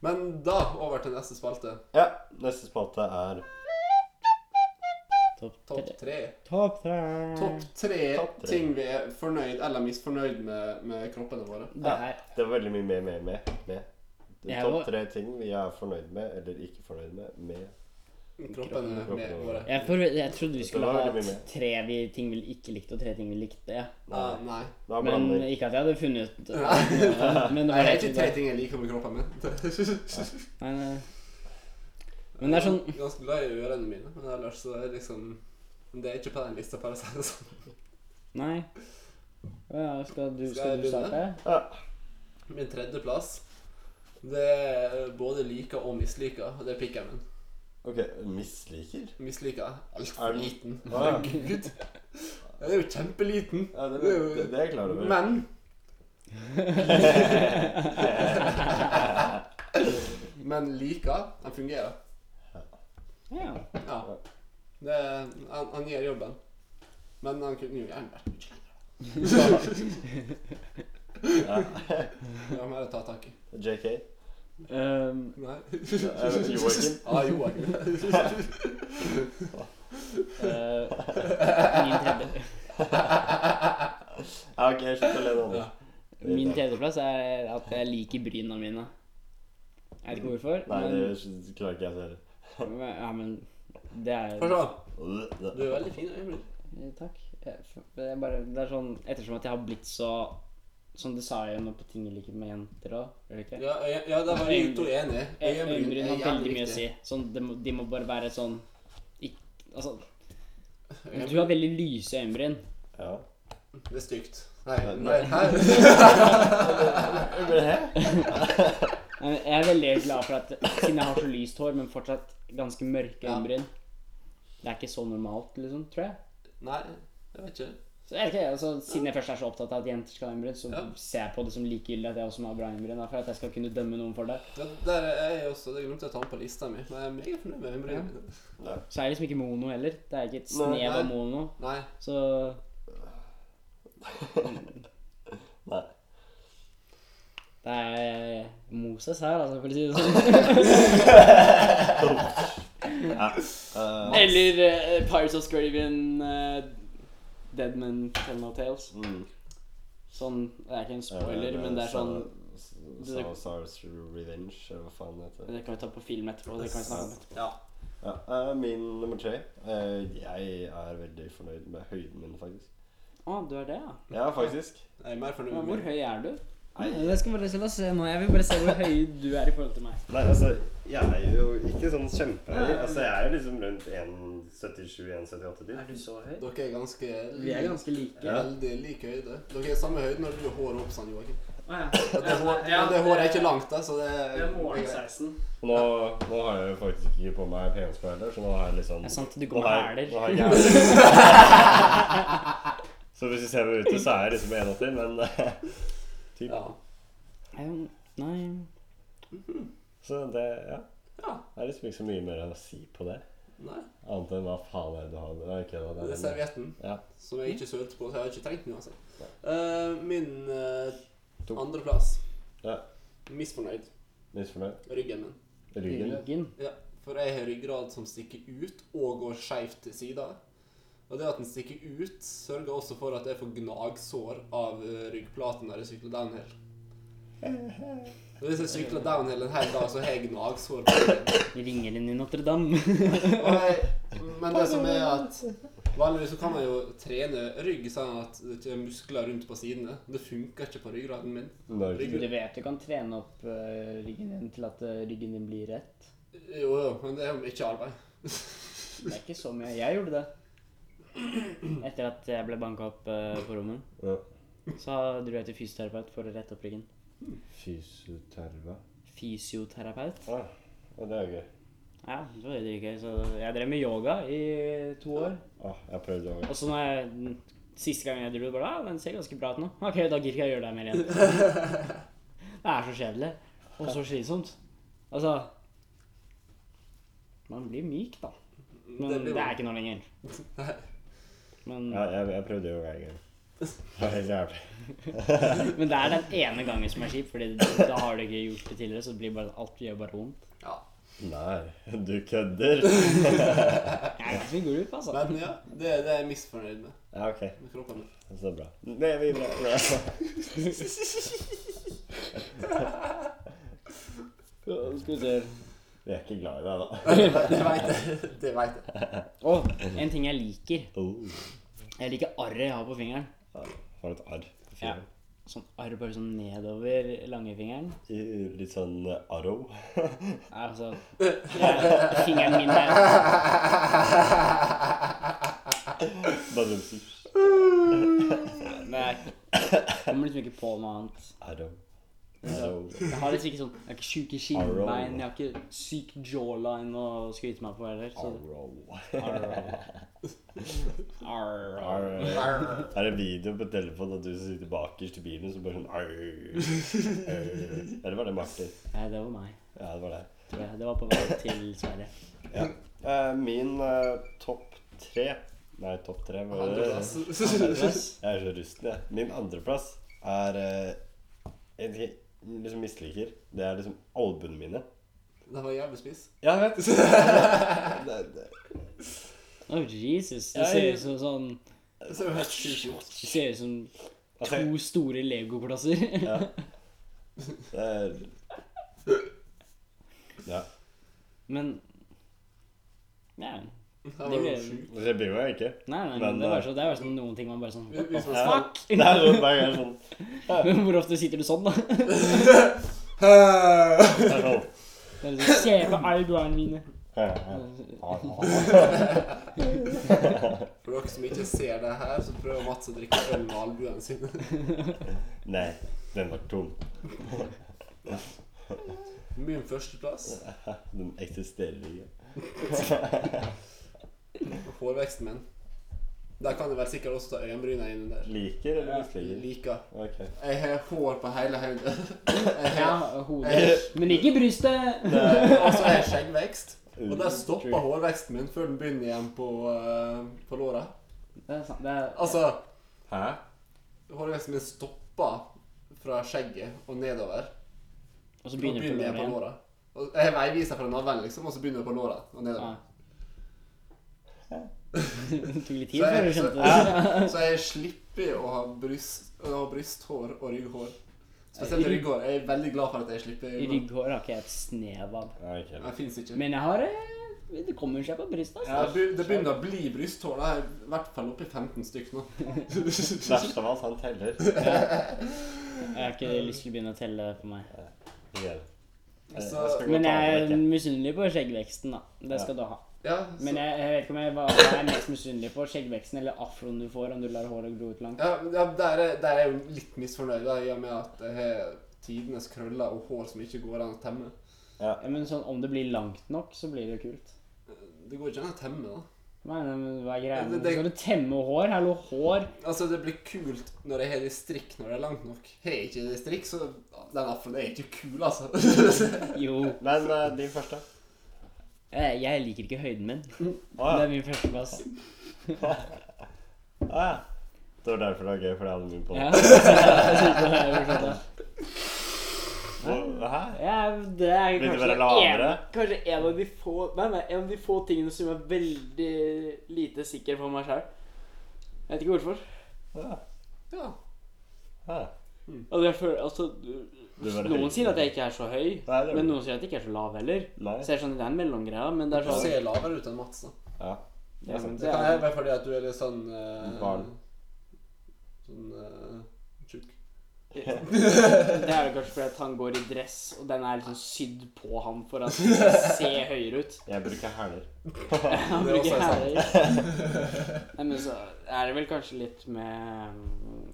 S3: Men da over til neste spalte.
S1: Ja, neste spalte er
S2: topp
S3: Topp
S2: tre.
S3: tre.
S2: Topp tre.
S3: Topp tre
S1: Topp tre.
S3: ting vi er fornøyd eller misfornøyd med med kroppene våre.
S2: Det her
S1: Det var veldig mye med, med, med. med. Det
S2: Jeg
S1: er
S2: var-
S1: Topp tre ting vi er fornøyd med, eller ikke fornøyd med, med.
S3: Kroppene med
S1: Kroppene.
S3: våre.
S2: Jeg, forve- jeg trodde vi skulle
S1: var
S2: ha
S1: veldig mye mer.
S2: tre vi, ting vi ikke likte, og tre ting vi likte. Ja.
S3: Nei. Ah, Nei.
S1: Da
S2: Men
S1: blander
S4: eh,
S2: ikke at jeg hadde funnet
S3: [LAUGHS]
S2: ut eh, Men det var
S3: Nei, det er
S2: helt
S3: ikke tre ting jeg liker med kroppen min. [LAUGHS]
S2: Men, eh, men det er sånn
S3: Jeg er ganske glad i ørene mine, men ellers så er det liksom Det er ikke på den lista, for å si det sånn.
S2: Nei. Ja, skal du,
S3: Skal
S2: skal
S3: jeg
S2: du
S3: begynne?
S2: starte?
S1: Ja.
S3: Min tredjeplass Det er både liker og misliker, og det er pikken min.
S1: OK. Misliker?
S3: Misliker er
S1: Er
S3: altfor
S1: den-
S3: liten.
S1: Ah, [LAUGHS] ja.
S3: Herregud. Den er jo kjempeliten.
S1: Ja, det, det, det, det er jeg klar over.
S3: Men
S1: [LAUGHS]
S3: Men liker, den fungerer.
S2: Ja.
S3: Ja. Det, han, han gjør jobben. Men han kunne jo gjerne vært mye lenger. [LAUGHS] Det må jeg ta tak i.
S1: JK.
S2: Ehm,
S3: Nei.
S1: Eh,
S3: [LAUGHS]
S1: Joakim.
S3: Ah, Joakim.
S2: eh, min tredje.
S3: [LAUGHS]
S1: Ja, ok, slutt å le nå. Anders.
S2: Min tredjeplass er at jeg liker bryna mine. Jeg vet ikke hvorfor.
S1: Nei,
S2: men,
S1: det klarer ikke jeg selv.
S2: men, ja, men det er
S3: Få se. Du
S1: Det
S3: er veldig fin i øyeblikk.
S2: Eh, Takk. Jeg f- Det er bare Det er sånn Ettersom at jeg har blitt så Som du sa jo nå på ting jeg liker med jenter òg, gjør det ikke? Eh,
S3: Ja, øy- ja, der var vi to enige.
S2: Øyenbryn
S3: er
S2: har veldig
S3: jævlig
S2: mye å si.
S3: viktig.
S2: Sånn, de, må, de må bare være sånn ikk, Altså Du
S3: Øyenbryn-
S2: har veldig lyse øyenbryn.
S1: Ja.
S3: Det er stygt. Nei,
S1: Nei,
S3: nei, hæ?
S2: [LAUGHS] Nei, men Eh, Jeg er veldig glad for at siden jeg har så lyst hår, men fortsatt ganske mørke
S3: Ja.
S2: øyenbryn Det er ikke så normalt, liksom, tror jeg.
S3: Nei, jeg vet ikke.
S2: Så jeg vet ikke, altså, Siden jeg først er så opptatt av at jenter skal ha øyenbryn, så
S3: Ja.
S2: ser jeg på det som likegyldig at jeg også må ha bra øyenbryn. da, For at jeg skal kunne dømme noen for det.
S3: Det der er jeg også, det glemte jeg å ta med på lista mi. Men jeg er meget fornøyd med øyenbrynene.
S2: Så er jeg liksom ikke mono heller. Det er ikke et snev
S3: nei.
S2: av mono.
S3: Nei,
S2: Så
S1: Nei.
S2: det
S4: eh,
S2: er Moses her, altså, for å si det sånn.
S1: Ja. Eh,
S4: Eller eh, Pirates of Scraven uh, Deadman Tell No Tales.
S1: mm.
S4: Sånn, Det er ikke en spoiler, men det
S1: Eh,
S4: er sånn
S1: Sour Stars Revenge, eller hva faen det heter.
S4: Det kan vi ta på film etterpå. Det kan vi snakke om etterpå.
S3: ja.
S1: Ja, eh, min nummer tre. Eh, jeg er veldig fornøyd med høyden min, faktisk.
S4: Å, du er det, ja?
S1: Ja, faktisk.
S3: Jeg er mer fornøyd
S4: Men
S3: med
S4: Hvor
S3: min.
S4: høy er du?
S1: Nei,
S2: Det skal bare la oss se nå. Jeg vil bare se hvor høy du er i forhold til meg.
S1: nei altså, jeg er jo ikke sånn kjempehøy. Altså, jeg er jo liksom rundt 1,77-1,78 til.
S2: du så høy?
S3: Dere er ganske
S2: Vi er ganske like.
S1: Ja.
S3: Veldig lik høyde. Dere er samme høyde når du har håret opp, sånn, Joakim.
S2: Å ja.
S3: Men Det, hår,
S2: Ja,
S3: men det håret er ikke langt, da, så det
S2: Det er morgensveisen.
S1: Nå, nå har jeg jo faktisk ikke på meg pensko heller, så nå har jeg liksom
S2: Det er sant, du
S1: nå
S2: går med
S1: har jeg-
S2: hæler.
S1: nå har jeg ikke hæler. [LAUGHS] Så hvis du ser meg ute, så er jeg liksom 1,80, men [LAUGHS] eh, typ.
S3: Ja.
S2: Jeg- [LAUGHS] Nei
S1: Så det, ja.
S3: Ja.
S1: Det er liksom ikke så mye mer å si på det.
S3: Nei.
S1: Annet enn hva faen er det du har med deg? Ikke
S3: Det er
S1: det, det er
S3: servietten,
S1: Ja.
S3: som jeg ikke sølte på, så jeg har ikke trengt den uansett. Eh, min eh,
S1: To.
S3: andreplass.
S1: Ja.
S3: Misfornøyd.
S1: misfornøyd.
S3: Ryggen min.
S1: Ryggen. ja.
S2: Ryggen.
S3: Ja, for jeg har ryggrad som stikker ut og går skeivt til sida. Og det at den stikker ut, sørger også for at jeg får gnagsår av eh, ryggplaten når jeg sykler
S1: [LAUGHS]
S3: downhill. Og hvis jeg sykler downhill en hel dag, så har jeg gnagsår. på ryggen.
S2: Ringelen i Notre-Dame.
S3: Og jeg, men det som er at vanligvis så kan man jo trene rygg sånn at det ikke er muskler rundt på sidene. Det funker ikke på ryggraden min.
S1: Når-
S2: Du vet du kan trene opp eh, ryggen din til at eh, ryggen din blir rett.
S3: Jo, jo, men det er jo ikke arbeid.
S2: Det er ikke så mye. Jeg gjorde det. Etter at jeg ble banka opp eh, på rommet,
S1: Ja.
S2: så dro jeg til fysioterapeut for å rette opp ryggen.
S1: Fysioterve.
S2: Fysioterapeut.
S1: Ah, ja, det er jo gøy.
S2: Ja, det var veldig gøy. Så jeg drev med yoga i to år.
S1: Ah, jeg har prøvd yoga.
S2: Og så når jeg, siste gang jeg dro, bare ah, den ser ganske bra ut nå. Ok, da gidder ikke jeg gjøre det mer
S3: [LAUGHS]
S2: igjen. Det er så kjedelig. Og så slitsomt. Altså Man blir myk, da. Men det,
S3: blir
S2: er ikke noe lenger. Men,
S1: Ja, jeg, jeg prøvde yoga
S3: [LAUGHS]
S1: en gang. Det var helt jævlig.
S2: men det er den ene gangen som er kjip, Fordi da har du ikke gjort det tidligere, så det blir bare, alt gjør bare vondt.
S3: Ja.
S1: Nei, du kødder.
S3: [LAUGHS]
S2: Jeg er ganske gulp, altså.
S3: Men ja, det, det er jeg misfornøyd med.
S1: Ja, ok.
S3: med kroppen min.
S1: Så bra. Nei, vi bra. bra.
S2: Skal vi se
S1: [LAUGHS] Vi er ikke glad i deg, da.
S3: Det veit jeg. Det vet jeg.
S2: Å, en ting jeg liker.
S1: Oh.
S2: Jeg liker arret jeg har på fingeren.
S1: Ja, Har du et arr på
S2: Ja.
S1: fingeren?
S2: Sånn arr bare sånn nedover langfingeren.
S1: I- Litt sånn eh, arrow. [LAUGHS]
S2: Nei, altså jeg, Fingeren min er
S1: Bare sånn du sier
S2: Nei. Jeg kommer liksom ikke på noe annet.
S1: arrow. Arrow.
S2: Jeg har liksom ikke sånn Jeg har ikke sjuke skinnbein, jeg har ikke syk jawline å skryte meg på heller. Så
S1: Arrow.
S2: arr. Arr.
S1: Arr. Er det video på telefonen at du sitter bakerst i bilen, så bare sånn arr. arr. Eller var det Martin?
S2: Nei, det var meg.
S1: Ja, det var det.
S2: tror jeg. Det var på vei til Sverige.
S1: Ja. Eh, min eh, topp tre Nei, topp tre var det
S3: Andreplass.
S1: Jeg er så rusten, jeg. Min andreplass er eh, En ting jeg liksom misliker. Det er liksom albuene mine.
S3: Det var jævlig spiss.
S1: Ja, [LAUGHS] jeg vet det, det.
S2: Oh, Jesus. Du
S1: Jeg-
S2: ser ut som sånn
S3: Det ser jo helt sjukt ut.
S2: Du ser ut som
S1: Altså,
S5: To store legoklosser.
S1: ja. Det er Ja.
S5: Men ja.
S3: Det
S5: Det
S3: var jo
S5: blir-
S3: sjukt.
S1: Det blir jo jeg ikke.
S5: Nei, nei, men
S1: Men,
S5: det var
S1: eh,
S5: så, det var sånn noen ting man bare sånn
S3: Hvis- hvis man
S1: Ja.
S3: skal-
S5: Fuck!
S1: Det er jo hver gang sånn,
S5: Men hvor ofte sitter du sånn, da? Det
S3: [LAUGHS]
S1: det er sånn.
S5: er sånn, Se på eyebrowene mine.
S3: For dere som ikke ser det her, så prøver Mats å drikke øl med albuene sine.
S1: Nei, den var tom.
S3: Min førsteplass.
S1: Den eksisterer ikke.
S3: Hårveksten min. Der kan jeg vel sikkert også ta øyenbryna inn der.
S1: Liker eller misliker?
S3: Liker.
S1: Ok.
S3: Jeg har hår på hele hodet. Jeg
S5: Ja,
S3: har-
S5: hodet. Men ikke brystet.
S3: Altså, jeg har skjeggvekst. Og der stopper hårveksten min før den begynner igjen på, eh, på låret.
S5: Det er sant. Det er,
S3: Altså,
S1: Hæ?
S3: hårveksten min stopper fra skjegget og nedover.
S5: og så
S3: Og
S5: begynner du på
S3: begynner jeg på
S5: låret igjen.
S3: låret. Og jeg har veiviser fra navlen, liksom, og så begynner jeg på låret og nedover.
S5: Ja. Det tok litt tid
S3: Så jeg-
S5: før du
S3: så-
S5: skjønte det. [LAUGHS]
S3: Så jeg slipper å ha, bryst, å ha brysthår og rygghår. Spesielt rygghår. Jeg er veldig glad for at jeg slipper rygghår.
S5: Rygghår har ikke jeg et snev av.
S1: Ja, ok.
S3: Det fins ikke.
S5: Men jeg har eh, Det kommer seg på brystet.
S3: Ja,
S5: Altså.
S3: det be- det begynner å bli brysthår. Det er i hvert fall oppe i 15
S5: [LAUGHS]
S3: stykk nå.
S1: Verst av alt, han [LAUGHS] teller.
S5: Jeg har ikke lyst til å begynne å telle for meg.
S1: Igjen. Jeg
S3: Så-
S1: skal gå og
S5: Altså, Men
S1: ta
S5: jeg
S1: det
S5: er
S1: vekk,
S5: misunnelig på skjeggveksten, da. Det skal du ha.
S3: Ja,
S5: Men
S3: så,
S5: jeg, jeg vet ikke om jeg hva hva jeg er mest misunnelig på. Skjeggveksten eller afroen du får om du lar håret gro ut langt.
S3: ja, ja der, er, der er jeg jo litt misfornøyd, da, i og med at jeg har tidenes krøller og hår som ikke går an å temme.
S5: Ja, Men sånn, om det blir langt nok, så blir det jo kult.
S3: Det går ikke an å temme, da.
S5: Nei, nei, men hva er greia?
S3: Det-
S5: med-
S3: det-
S5: Skal du temme hår? Hallo, hår?
S3: Altså, det blir kult når jeg har det i strikk når det er langt nok. Har jeg ikke det i strikk, så den afroen er ikke kul, altså. [LAUGHS]
S5: Jo.
S1: jeg. Men eh, din første.
S5: Eh, Jeg liker ikke høyden min.
S1: Å
S5: Det
S1: ja.
S5: er min førsteplass.
S1: Å, ja. Det var derfor det var gøy, fordi jeg hadde min på.
S2: [LAUGHS]
S5: Ja. Jeg synes det er
S1: [LAUGHS]
S5: jo sånn, Ja, det er
S1: Hvor- Hæ? Vil du
S5: kanskje
S1: være
S5: en,
S1: lavere?
S2: Kanskje en av de få Nei, nei, en av de få tingene som jeg er veldig lite sikker på meg sjøl. Jeg vet ikke hvorfor.
S1: Ja.
S3: Ja.
S1: Hæ.
S2: Altså, jeg føler, altså,
S1: Du er
S2: noen
S1: høy.
S2: sier at jeg ikke er så høy,
S1: Nei, det er
S2: men
S1: du.
S2: noen sier at jeg ikke er så lav heller.
S1: Nei.
S2: Så jeg skjønner det er en mellomgreie, men det er
S3: Du
S2: sånn
S3: ser lavere ut enn Mats, da.
S1: Ja.
S2: ja, men
S3: Det
S2: det
S3: kan
S2: er,
S3: være fordi at du er litt sånn eh,
S1: Barn.
S3: Sånn eh, tjukk.
S2: Det er [LAUGHS] det kanskje fordi at han går i dress, og den er liksom sydd på ham for at han skal se høyere ut.
S1: Jeg bruker hæler.
S2: Han
S3: Det er også
S2: bruker
S3: sånn, sant.
S2: hæler. Nei, men så er det vel kanskje litt med mm,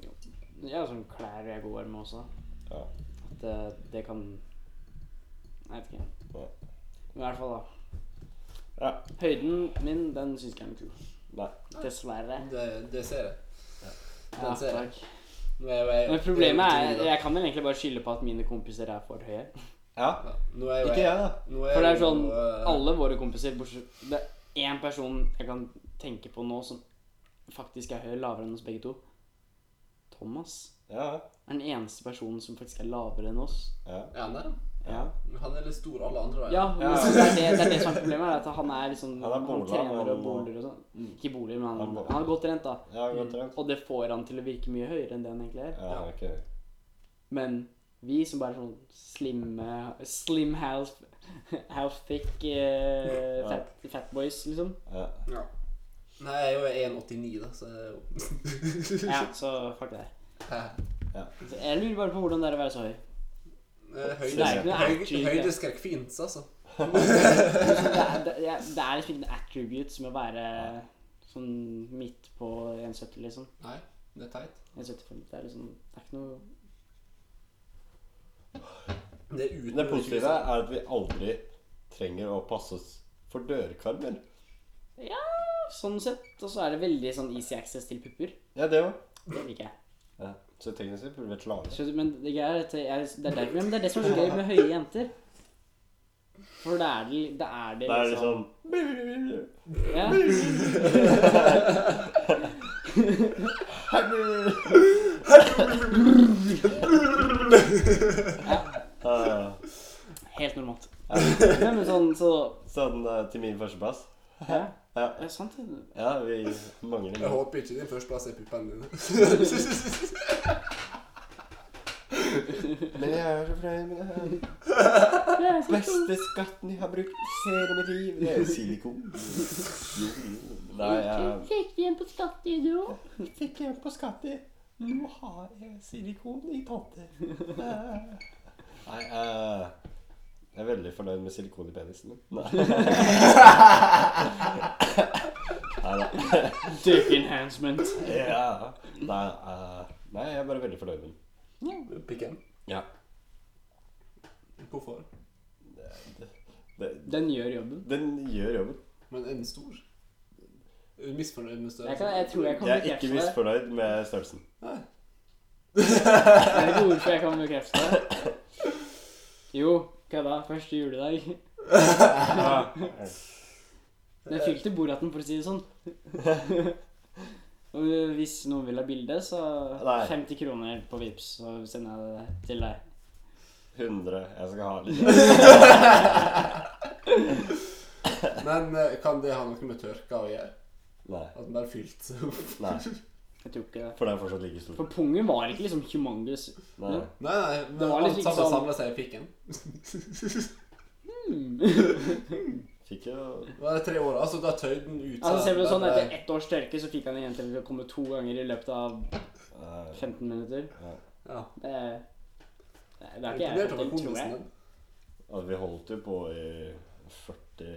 S2: Ja, sånn klær jeg går med også.
S1: Ja.
S2: At det, det kan Jeg vet
S1: Ja.
S2: ikke. Men I hvert fall, da.
S1: Ja.
S2: Høyden min, den syns ikke jeg er kul.
S1: Nei.
S2: Dessverre.
S3: Det, det ser jeg.
S2: Ja,
S3: Den ser jeg.
S2: takk.
S3: Nå er jo jeg
S2: Men problemet er
S3: jeg,
S2: Jeg kan vel egentlig bare skylde på at mine kompiser er for høye.
S1: Ja.
S3: Nå er jo
S1: Ikke
S3: jeg,
S1: jeg, da.
S3: nå er
S2: For det er
S3: jo,
S2: sånn,
S3: eh,
S2: Alle våre kompiser, bortsett Det er én person jeg kan tenke på nå som faktisk er høy lavere enn oss begge to. Thomas
S1: Ja.
S2: er den eneste personen som faktisk er lavere enn oss.
S1: Ja.
S3: Er han der?
S2: Ja,
S3: Han er litt stor alle andre veier.
S2: ja men så det, er det, det er det som er problemet. er At han er liksom
S1: Han er bola,
S2: trener og
S1: men-
S2: boler og sånn. Ikke boler, men
S1: Han
S2: han,
S1: er bola.
S2: han er godt trent, da.
S1: Ja, godt trent.
S2: Og det får han til å virke mye høyere enn det han egentlig er.
S1: Ja, ok.
S2: Men vi som bare er sånn slimme Slim house, house thick eh,
S1: Ja.
S2: fat, fat boys, liksom.
S1: Ja.
S3: Ja. Nei, jeg er jo 1,89, da, så jeg er jo
S2: Ja, så fuck det.
S3: [LAUGHS] Hæ?
S2: Så Jeg lurer bare på hvordan det er å være så høy.
S3: Eh,
S2: Det er ikke
S3: høyde-
S2: noe
S3: høy-
S2: attitude,
S3: Høydeskrekk fins, altså.
S2: Det er, det, jeg- det er liksom ikke noe attribute som å være sånn midt på 1,70, liksom.
S3: Nei, det er teit.
S2: 1,75. Det er liksom Det er ikke noe
S3: Det er uten
S1: Det positive er at vi aldri trenger å passe oss for dørkarmer.
S2: Ja, sånn sett. Og så er det veldig sånn easy access til pupper.
S1: Ja, det òg.
S2: Det liker jeg.
S1: Ja. Så teknisk sett burde vi vært lavere.
S2: Så, men det, greia er at jeg, det, er derfor, men det er det som er så gøy med høye jenter. For da er det, da er det
S1: Det sånn- er
S2: liksom
S1: liksom
S2: ja.
S1: Ja, ja.
S2: Helt normalt. Nei, men sånn, så
S1: [LAUGHS] Sånn eh, til min førsteplass.
S2: sånn, Ja,
S1: Ja,
S2: det er sant. det.
S1: ja vi mangler
S3: Jeg
S1: noe.
S3: håper ikke din førsteplass er puppene [LAUGHS] dine.
S1: Men jeg er så fornøyd med det her. Beste skatten jeg har brukt i hele mitt liv. Det er jo silikon. Jo, jo. Nei, jeg
S2: Fikk igjen på skattevideo.
S1: fikk hjelp på skatten. Nå har jeg silikon i panter. Nei, eh, jeg er veldig fornøyd med silikon i penisen min. Nei. Neida.
S2: Dick enhancement.
S1: Ja. Nei, eh, nei, jeg er bare veldig fornøyd med den.
S3: Pikken.
S1: Ja.
S3: Hvorfor?
S1: Det,
S2: Den gjør jobben.
S1: den gjør jobben.
S3: Men er den stor? Er du misfornøyd med
S2: Jeg, kan,
S3: størrelsen?
S2: jeg tror jeg kan
S1: Jeg er ikke
S2: bekrefte det.
S1: misfornøyd med størrelsen.
S2: Det er ikke ord for jeg kan bekrefte det. Jo, kødda. Første juledag.
S1: [LAUGHS]
S2: Den fikk til bordhatten, for å si det sånn. Og hvis noen vil ha bilde, så
S1: Nei.
S2: 50 kroner på Vipps, så sender jeg det til deg.
S1: 100. Jeg skal ha litt.
S3: Men eh, kan det ha noe med tørka å gjøre?
S1: Nei.
S3: At den bare fylte seg opp?
S1: Nei.
S2: Jeg tror ikke det.
S1: For den er fortsatt like stor.
S2: For pungen var ikke liksom humongous.
S1: Nei.
S3: [LAUGHS] Nei, nei, men
S2: Det var
S3: alt
S2: liksom ikke
S3: sammen
S2: sånn-
S3: samlet seg i pikken. [LAUGHS]
S2: Altså,
S1: Fikk jo
S3: Det var de tre åra, altså da tøyde den ut
S2: Altså ser du det sånn,
S3: der-
S2: Etter ett års tørke så fikk han igjen til å komme to ganger i løpet av
S1: eh,
S2: 15 minutter.
S3: Ja.
S2: Det er, det er ikke jeg
S3: Imponert
S2: fått til,
S3: over
S2: tror
S3: kompisen
S2: jeg.
S3: din.
S1: at Vi holdt jo på i 40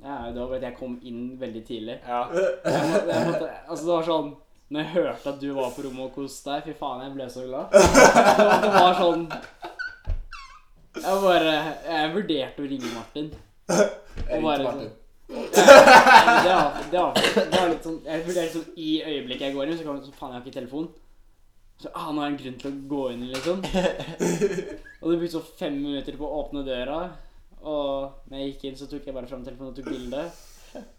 S2: Ja, det var bare at jeg kom inn veldig tidlig.
S1: Ja.
S2: Jeg må, jeg måtte, altså det var sånn Når jeg hørte at du var på rommet og koste deg, fy faen, jeg ble så glad. Det var sånn Jeg bare Jeg vurderte å ringe Martin.
S3: Jeg
S2: bare
S3: ringte
S2: sånn-
S3: Martin.
S2: Men Det var, det var, det var litt sånn Jeg vurderte sånn i øyeblikket jeg går inn, så kommer jeg sånn Faen, jeg har ikke telefon. Så ah, nå er det en grunn til å gå inn, liksom. Og det brukte sånn fem minutter på å åpne døra. Og når jeg gikk inn, så tok jeg bare fram telefonen og tok bilde.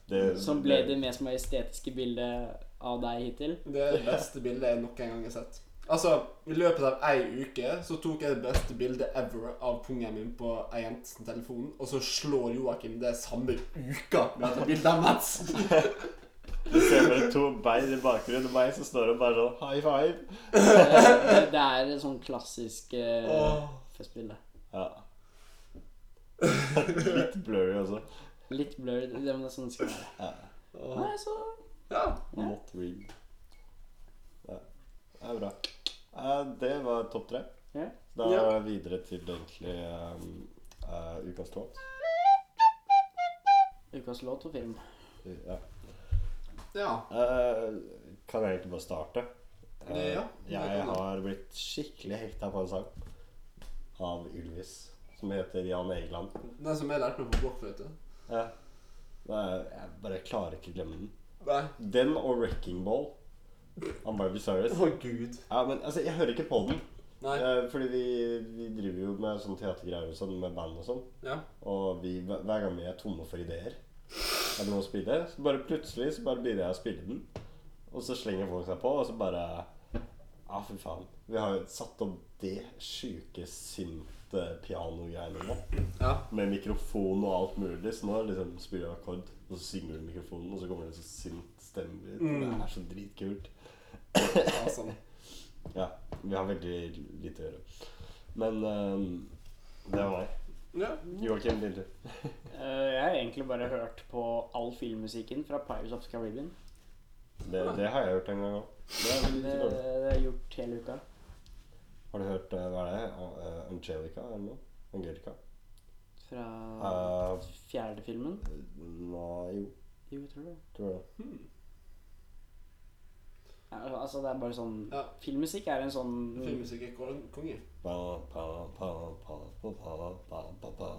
S1: Det-
S2: Som ble det mest majestetiske bildet av deg
S1: [LAUGHS]
S2: hittil.
S3: Det er det beste bildet jeg noen gang har sett. Altså, I løpet av ei uke så tok jeg det beste bildet ever av pungen min på ei jentes telefon, og så slår Joakim det samme uka med at det bildet av Mats. [LAUGHS]
S1: Du ser bare to bein i bakgrunnen og meg som står og bare sånn high five.
S2: Det det er et sånn klassisk uh,
S3: Åh.
S2: festbilde.
S1: Ja. [LAUGHS] Litt blurry også.
S2: Litt blurred, det, men det er sånn det skal være. Nei, så
S3: Ja.
S1: Not real. Ja. Det er bra. Eh, Det var topp tre.
S2: Ja.
S1: Da
S3: Ja.
S1: er vi videre til egentlig um, eh, ukas låt.
S2: Ukas låt og film.
S1: Ja.
S3: ja.
S1: Eh, kan jeg egentlig bare starte? Eh,
S3: Ja, det
S1: jeg
S3: kan du.
S1: har blitt skikkelig hekta på en sang av Ylvis som heter Jan Egeland.
S3: Den som jeg lærte meg på blokkfløyte.
S1: Ja. Det er- jeg bare klarer ikke å glemme den.
S3: Nei.
S1: Den og Wrecking Ball. I'm very serious.
S3: Å, gud.
S1: Ja, men altså, jeg hører ikke på den.
S3: Nei.
S1: Eh, fordi vi, vi driver jo med sånn teatergreier og sånn, med band og sånn.
S3: Ja.
S1: Og vi, hver hver gang vi er tomme for ideer, er det noe å spille, så bare plutselig så bare begynner jeg å spille den. Og så slenger folk seg på, og så bare Ja, fy faen. Vi har jo satt opp det sjuke sinte pianogreiene nå.
S3: Ja.
S1: Med mikrofon og alt mulig. Så nå liksom spiller du akkord, og så synger du i mikrofonen, og så kommer det så sint stemme ut. Det er så dritkult. [COUGHS]
S3: ja sånn.
S1: Ja. Vi har veldig lite å gjøre. Men eh, det var meg.
S3: Ja.
S1: Joakim, din tur.
S2: Eh, jeg har egentlig bare hørt på all filmmusikken fra Pirates of the Caribbean.
S1: Det, det har jeg hørt en gang òg. Det er veldig
S2: Det,
S1: dårlig.
S2: Eh, det har jeg gjort hele uka.
S1: Har du hørt eh, hva er det? A- eh, Angelica eller noe? Angelica?
S2: Fra
S1: Eh,
S2: fjerde filmen.
S1: nei, jo,
S2: Jo, jeg tror det.
S1: tror jeg.
S2: Ja, altså, det er bare sånn
S3: Ja.
S2: Filmmusikk er en sånn
S3: Filmmusikk er kon- konge.
S1: Pa, pa, pa, pa, pa, pa, pa, pa, pa.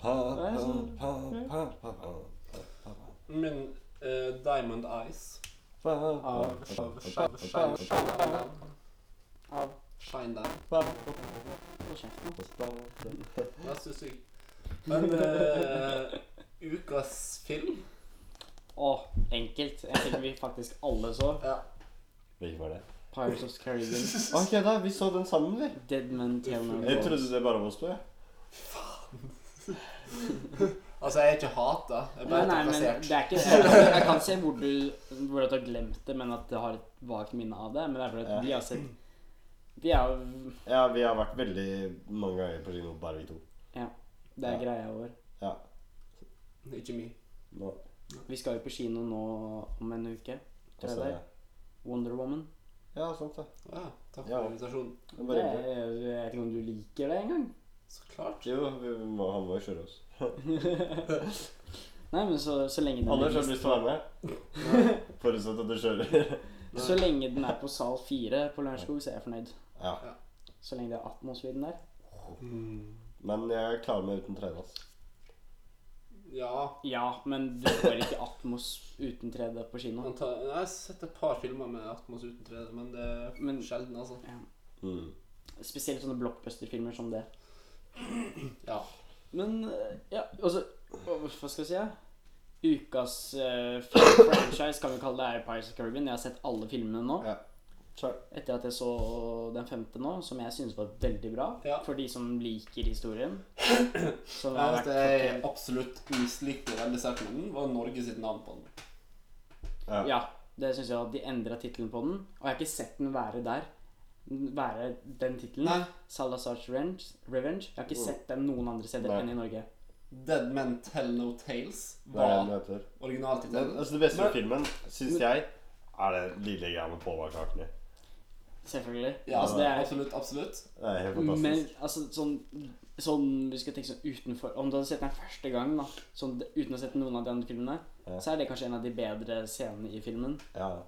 S1: Pa,
S2: Det er
S1: pa,
S2: sånn-
S1: pa, pa, pa, pa, pa, pa, pa.
S3: Min eh, Diamond Eyes
S1: Pa,
S2: Av-
S1: pa,
S3: Shine,
S1: pa,
S3: shine,
S1: pa,
S3: shine,
S1: pa,
S3: shine down.
S2: av
S3: Shine down.
S1: pa,
S2: Hold kjeft nå.
S1: pa, pa.
S3: Vær så snill. [LAUGHS] Men eh, ukas film
S2: Å, enkelt. En film vi faktisk alle så.
S3: Ja.
S1: Hvilken var det?
S2: Pirates of the Caribbean.
S1: Ok, da. Vi så den sammen, vi.
S2: Dead Men Tell No
S1: Jeg
S2: Bones.
S1: trodde det bare var oss to, jeg.
S3: Altså, jeg er ikke hata. Jeg er
S2: Nei,
S3: bare
S2: nei, men
S3: trakassert.
S2: det er ikke jeg,
S1: [LAUGHS]
S2: jeg kan se hvor du, hvor at du har glemt det, men at du har et vagt minne av det. Men det er fordi at vi har sett Vi er jo
S1: Ja, vi har vært veldig mange ganger på kino, bare vi to.
S2: Det er greia vår.
S1: Ja.
S3: Ikke me.
S1: Nå,
S2: Vi skal jo på kino nå om en uke.
S1: og så-
S2: Prøver. Wonder Woman.
S1: Ja, sant det.
S3: Ja, takk
S1: Ja.
S3: for invitasjonen.
S1: Det er
S2: Det
S1: bare
S2: er,
S1: hyggelig.
S2: jeg vet ikke om du liker det engang. [LAUGHS]
S3: Så [LAUGHS] klart.
S1: Jo, vi må, han må jo kjøre oss.
S2: Nei, men så, så lenge den
S1: Anders, har du
S2: er,
S1: lyst til å være med? Forutsatt at du kjører. [LAUGHS]
S2: Så lenge den er på sal fire på Lørenskog, så er jeg fornøyd.
S1: Ja.
S2: Så lenge det er atmosfæren der.
S3: Mm.
S1: Men jeg klarer meg uten trene, ass.
S3: Ja.
S2: Ja, men du får ikke atmos uten 3D på kino.
S3: Anta, jeg har sett et par filmer med Atmos uten 3D, men det er
S2: Men-
S3: sjelden, altså.
S1: Mm.
S2: Spesielt sånne blockbuster-filmer som det.
S3: Ja.
S2: Men eh, ja, altså Hva skal jeg si? ja? Ukas eh, franchise kan vi kalle det er Pirates of the Caribbean. Jeg har sett alle filmene nå.
S1: Ja. Kjør.
S2: Etter at jeg så den femte nå, som jeg synes var veldig bra.
S3: Ja.
S2: For de som liker historien. Som
S3: Jeg
S2: har
S3: vet
S2: vært
S3: jeg
S2: fortjent.
S3: absolutt mislikte veldig sterkt med den, var Norge sitt navn på den.
S1: Ja.
S2: Ja, det synes jeg at de endret tittelen på den. Og jeg har ikke sett den være der. Være den tittelen.
S3: Nei,
S2: Salazar's Revenge. Revenge. Jeg har ikke sett den noen andre steder
S1: Mm. Nei.
S2: enn i Norge.
S3: Dead Men Tell No Tales
S1: Det er det den
S3: var
S1: heter. Men,
S3: originaltittelen.
S1: altså, det beste
S3: Mm.
S1: med
S3: Men-
S1: filmen, syns jeg, er det lille greia med påbakakene.
S2: Selvfølgelig.
S3: Ja,
S2: altså, det er
S3: absolutt, absolutt.
S1: Det er helt
S2: Men
S1: fantastisk.
S2: altså, sånn, sånn Vi skal tenke sånn utenfor Om du hadde sett den første gang, da sånn, d- uten å ha sett noen av de andre filmene,
S1: Ja.
S2: så er det kanskje en av de bedre scenene i filmen.
S1: Ja.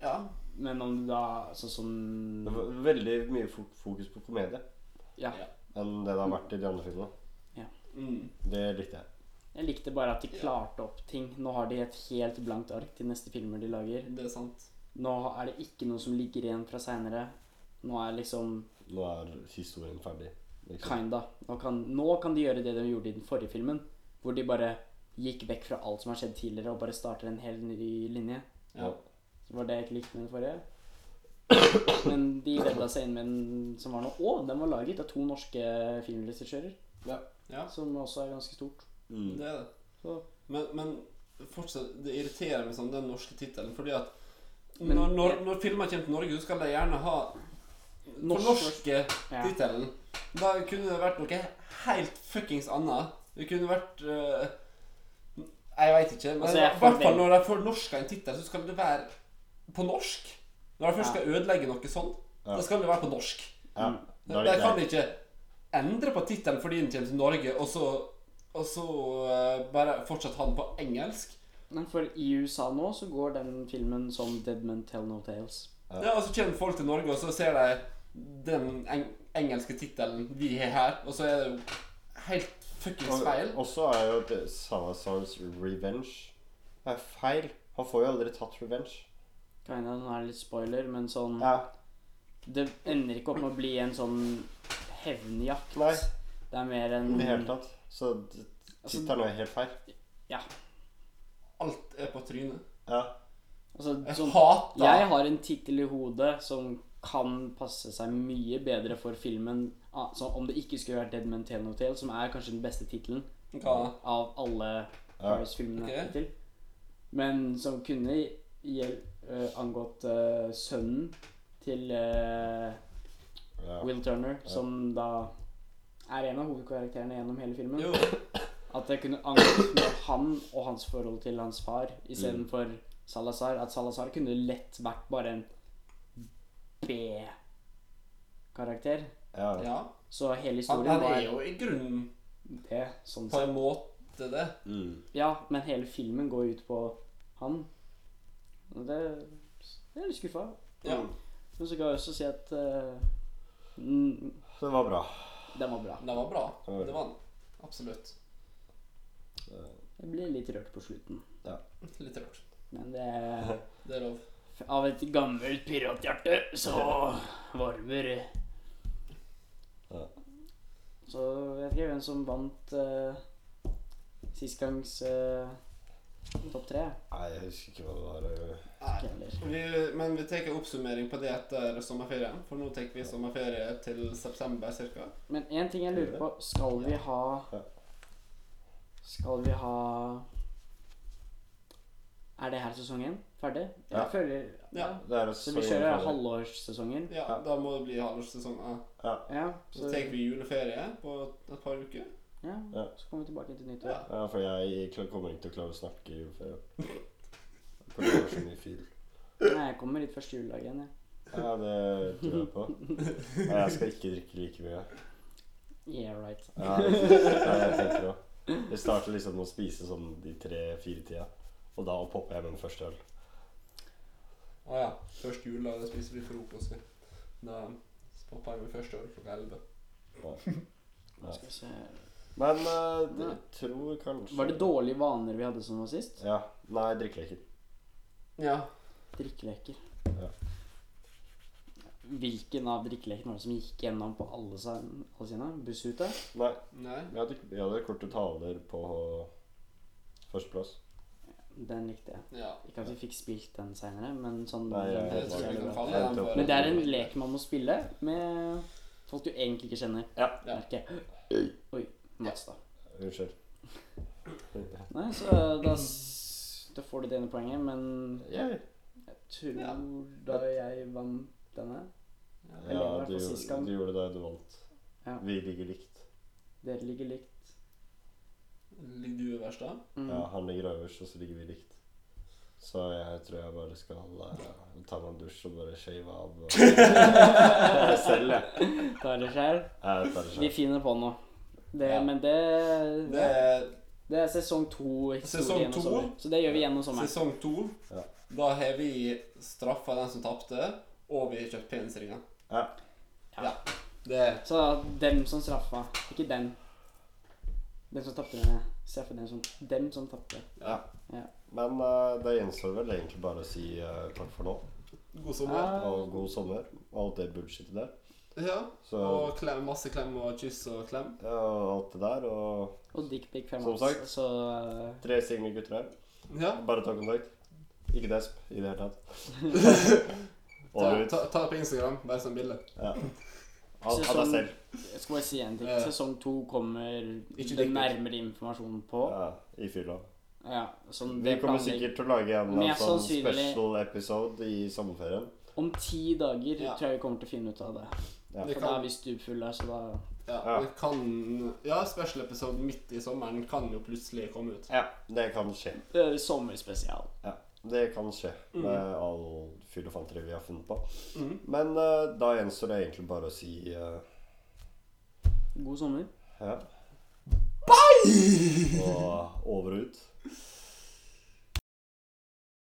S3: Ja.
S2: Men om du da Sånn som
S1: Det var veldig mye fo- fokus på komedie
S2: Ja.
S1: enn det det har vært i de andre filmene.
S3: Mm.
S1: Det likte jeg.
S2: Jeg likte bare at de klarte opp ting. Nå har de et helt blankt ark til neste filmer de lager.
S3: Det er sant.
S2: Nå er det ikke noe som ligger igjen fra seinere. Nå er liksom
S1: Nå er historien ferdig. Liksom.
S2: Kinda. Nå kan, nå kan de gjøre det de gjorde i den forrige filmen, hvor de bare gikk vekk fra alt som har skjedd tidligere, og bare starter en hel ny linje.
S1: Ja.
S2: Det var det jeg ikke likte med den forrige. Men de redda seg inn med den som var nå. Å, den var laget av to norske filmregissører.
S3: Ja. ja.
S2: Som også er ganske stort.
S1: Mm.
S3: Det er det.
S2: Så-
S3: Men, men fortsatt, det irriterer meg sånn, den norske tittelen, fordi at
S2: Men-
S3: når, når, når filmer kommer til Norge, så skal de gjerne ha
S2: Norsk-
S3: fornorske
S2: Ja.
S3: tittelen. Da kunne det vært noe helt fuckings annet. Det kunne vært eh, Jeg veit ikke. Men
S2: Altså,
S3: i
S2: jeg
S3: hvert fall
S2: forvent-
S3: når de fornorsker en tittel, så skal det være på norsk. Når de først skal ødelegge noe sånn,
S1: Ja.
S3: da skal det være på norsk.
S1: Ja. Da er
S3: De
S1: det
S3: kan
S1: greit.
S3: ikke endre på tittelen fordi den kommer til Norge, og så, og så eh, bare fortsatt ha den på engelsk.
S2: Men for i USA nå så går den filmen som Dead Men Tell No Tales.
S1: Ja.
S3: Ja, og så kommer folk til Norge, og så ser de den eng engelske tittelen vi har her, og så er det jo helt fuckings feil.
S1: Og så er jo det Salazars revenge Det er feil. Han får jo aldri tatt revenge.
S2: Kinda, nå er det litt spoiler, men sånn
S1: Ja.
S2: Det ender ikke opp med å bli en sånn hevnjakt.
S1: Nei.
S2: Det er mer en
S1: I det hele tatt. Så d-
S2: Altså,
S1: tittelen er helt feil.
S3: Alt er på trynet.
S1: Ja.
S2: altså,
S3: Jeg
S2: sånn,
S3: hater
S2: Jeg har en tittel i hodet som kan passe seg mye bedre for filmen ah, så om det ikke skulle vært Dead Men Tell No Tale, som er kanskje den beste tittelen
S3: Hva?
S2: av alle
S1: Ja.
S2: Paris-filmene
S3: Ok.
S2: hittil. Men som kunne gjel- eh, angått eh, sønnen til eh,
S1: ja.
S2: Will Turner, som da er en av hovedkarakterene gjennom hele filmen.
S3: Jo,
S2: At det kunne angått med han og hans forhold til hans far
S3: Mm.
S2: istedenfor Salazar. At Salazar kunne lett vært bare en B-karakter.
S1: ja.
S3: ja.
S2: Så hele
S3: Han,
S2: historien
S3: han
S2: var
S3: er jo i grunnen
S2: det. Sånn
S3: på
S2: sett.
S3: en måte det.
S1: Mm.
S2: Ja, men hele filmen går ut på han. Og det Jeg er litt skuffa.
S3: Ja.
S1: Mm.
S2: Men så kan jeg også si at eh, mm,
S1: Så det var bra.
S2: den var bra.
S3: Det var bra.
S1: Ja.
S3: Det var han. Absolutt.
S2: Jeg ble litt rørt på slutten.
S3: Litt rart.
S2: Men det
S3: Det er lov.
S2: Av et gammelt pirathjerte så varmer det.
S1: Ja.
S2: Så jeg vet ikke hvem som vant uh, sist gangs eh, topp tre.
S1: Nei, jeg husker ikke hva det var.
S3: Nei.
S2: Ikke heller.
S3: Vi, men vi tar en oppsummering på det etter sommerferien, for nå tar vi sommerferie til september ca.
S2: Men én ting jeg lurer på. Skal vi ha Skal vi ha Er det her sesongen ferdig? Jeg
S1: Ja.
S2: føler
S3: Ja.
S1: Det er
S2: Så vi kjører halvårssesongen.
S3: Ja, da må det bli halvårssesong. Ja.
S2: Ja,
S3: Så
S2: så,
S3: tar vi juleferie på et par uker.
S2: ja,
S1: Ja.
S2: så kommer vi tilbake til nyttår.
S3: Ja.
S1: Ja, for jeg kl- kommer ikke til å klare å snakke i juleferien. For det er så mye fil.
S2: Nei, jeg kommer litt første juledag igjen. jeg.
S1: Ja, det tror jeg på. Nei, jeg skal ikke drikke like mye.
S2: Yeah, right.
S1: Ja, det ja, jeg tenker òg. Jeg starter liksom å spise sånn de tre-fire tida. Og da popper jeg med en første øl.
S3: Å ja. Først jul, da. Det spiser vi frokost. ja. Da popper jeg med første øl klokka elleve.
S1: Ja.
S2: Skal vi se.
S1: Men eh, det tror kanskje
S2: Var det dårlige vaner vi hadde som var sist?
S1: Ja. Nei, drikkeleker.
S3: Ja.
S2: Drikkeleker.
S1: Ja.
S2: Hvilken av drikkelekene var det som gikk gjennom på alle, sa- alle sine? Bussruta?
S1: Nei,
S3: Nei.
S1: vi hadde, vi hadde korte taler på førsteplass.
S2: Den likte jeg.
S3: Ja.
S2: Ikke at vi fikk spilt den seinere, men sånn
S1: Nei, jeg,
S3: Det
S1: jeg,
S3: tror jeg vi kan
S1: jeg,
S3: kalle den for.
S2: Men det er en lek man må spille med folk du egentlig ikke kjenner.
S1: Ja.
S3: Ja.
S2: Merker jeg. Oi. Mats, da.
S1: Unnskyld.
S2: Nei, så da, s- da får du det ene poenget, men
S1: Yeah.
S2: jeg tror
S3: Ja.
S2: da jeg vant denne Jeg ligger i
S1: Ja,
S2: hvert
S1: du,
S2: fall sist gang.
S1: du gjorde det du vant.
S2: Ja.
S1: Vi ligger likt.
S2: Dere ligger likt.
S3: Ligger du øverst, da?
S2: Mm.
S1: Ja, han ligger øverst, og så ligger vi likt. Så jeg tror jeg bare skal eh, ta meg en dusj og bare shave av og meg selv, jeg.
S2: Tar det selv.
S1: Jeg tar det
S2: Vi
S1: selv.
S2: finner på noe. Det,
S3: Ja.
S2: Men det,
S3: Det er
S2: Det er sesong to.
S3: Sesong
S2: Sesong
S3: to.
S2: to. sånn. Så det gjør vi gjennom sommeren.
S3: sesong to.
S1: Ja.
S3: Da har vi straffa den som tapte, og vi har kjøpt penisringer.
S1: Ja.
S3: ja. Det
S2: Så dem som straffa, ikke den. Den som tapte, mener jeg. Straffe den som Dem som tapte.
S3: Ja.
S1: Men eh, det gjenstår vel egentlig bare å si eh, takk for nå,
S3: God sommer.
S2: Ah.
S1: og god sommer, og alt det bullshitet der.
S3: Ja.
S1: Så ja,
S3: Og klem, masse klem og kyss og klem.
S1: og alt det der, og
S2: Og dickpic fra
S1: Som
S2: Mats.
S1: sagt.
S2: Så
S1: tre single gutter her.
S3: Ja.
S1: Bare ta kontakt. Ikke desp i det hele
S3: [LAUGHS]
S1: tatt.
S3: Ta,
S1: Over ut.
S3: ta, ta på Instagram, bare som bilde.
S1: Ja. Av av deg selv.
S2: jeg eh, skal bare si en ting.
S3: Ja.
S2: Sesong to kommer
S3: Ikke
S2: det
S3: dickpic.
S2: nærmere informasjon på.
S1: Ja, I fylla.
S2: Ja, sånn
S1: Vi
S2: det
S1: kommer
S2: planlegg-
S1: sikkert til å lage en
S2: Mest
S1: sånn
S2: sannsynlig-
S1: special episode i sommerferien.
S2: Om ti dager
S3: Ja.
S2: tror jeg vi kommer til å finne ut av det.
S1: Ja.
S3: Det
S2: For da er
S3: kan,
S2: vi stupfulle, så da
S3: ja,
S1: Ja.
S3: det kan Ja, special-episode midt i sommeren kan jo plutselig komme ut.
S1: Ja, det kan skje.
S2: Det er Eh, sommerspesial.
S1: Det kan skje med all fyllefantere vi har funnet på.
S3: Mm.
S1: Men eh, da gjenstår det egentlig bare å si eh,
S2: God sommer.
S1: ja. Bye! Og over og ut.